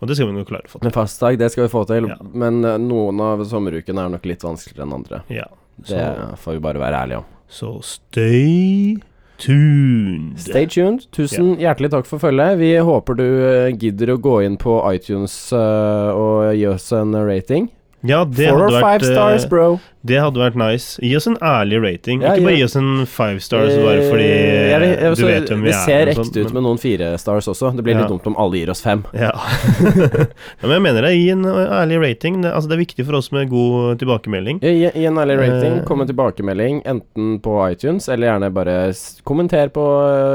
B: Og det skal vi nok klare å få til.
A: Med fastdag, det skal vi få til.
B: Ja.
A: Men eh, noen av sommerukene er nok litt vanskeligere enn andre.
B: Ja.
A: Det får vi bare være ærlige om.
B: Så stay tuned.
A: Stay tuned. Tusen hjertelig takk for følget. Vi håper du eh, gidder å gå inn på iTunes eh, og gi oss en rating.
B: Ja, det
A: Four
B: hadde,
A: or
B: vært,
A: five stars,
B: eh,
A: bro.
B: det hadde vært nice. Gi oss en ærlig rating.
A: Ja,
B: ikke bare
A: gi-
B: gi oss en five stars bare fordi
A: Eh, jeg vil- jeg vil
B: du
A: også-
B: vet hvem vi
A: Det
B: er.
A: ser
B: og sånt,
A: ekte ut
B: men- sånn-
A: med noen fire stars også. Det blir
B: Ja.
A: litt dumt om alle gir oss fem.
B: ja. ja, men jeg mener det. Gi en eh, ærlig rating. Det, altså, det er viktig for oss med god tilbakemelding.
A: Gi gi en ærlig rating,
B: Eh.
A: kom med tilbakemelding, enten på iTunes, eller gjerne bare s- kommenter på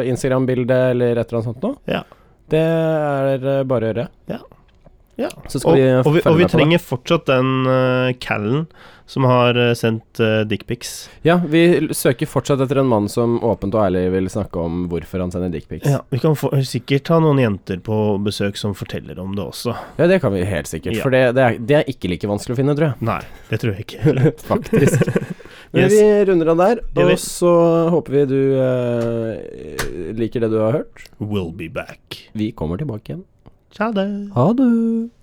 A: eh, Instagram-bildet eller et eller annet sånt noe.
B: Ja.
A: Det er eh, bare å gjøre.
B: Ja. Ja.
A: Så skal
B: Og,
A: vi eh,
B: og vi,
A: følge
B: og vi
A: med på det.
B: trenger fortsatt den uh, callen som har eh, sendt uh, dickpics.
A: Ja, vi l- søker fortsatt etter en mann som åpent og ærlig vil snakke om hvorfor han sender dickpics. Ja.
B: Ja, vi kan få, sikkert ha noen jenter på besøk som forteller om det også.
A: ja, det kan vi helt sikkert,
B: Ja.
A: for det, det, er, det er ikke like vanskelig å finne, tror jeg.
B: Nei, det tror jeg ikke.
A: Faktisk. Men
B: Yes.
A: vi runder av der,
B: gjør vi.
A: og så håper vi du eh, liker det du har hørt.
B: We'll be back.
A: Vi kommer tilbake igjen.
B: Ciao, det.
A: Ha det.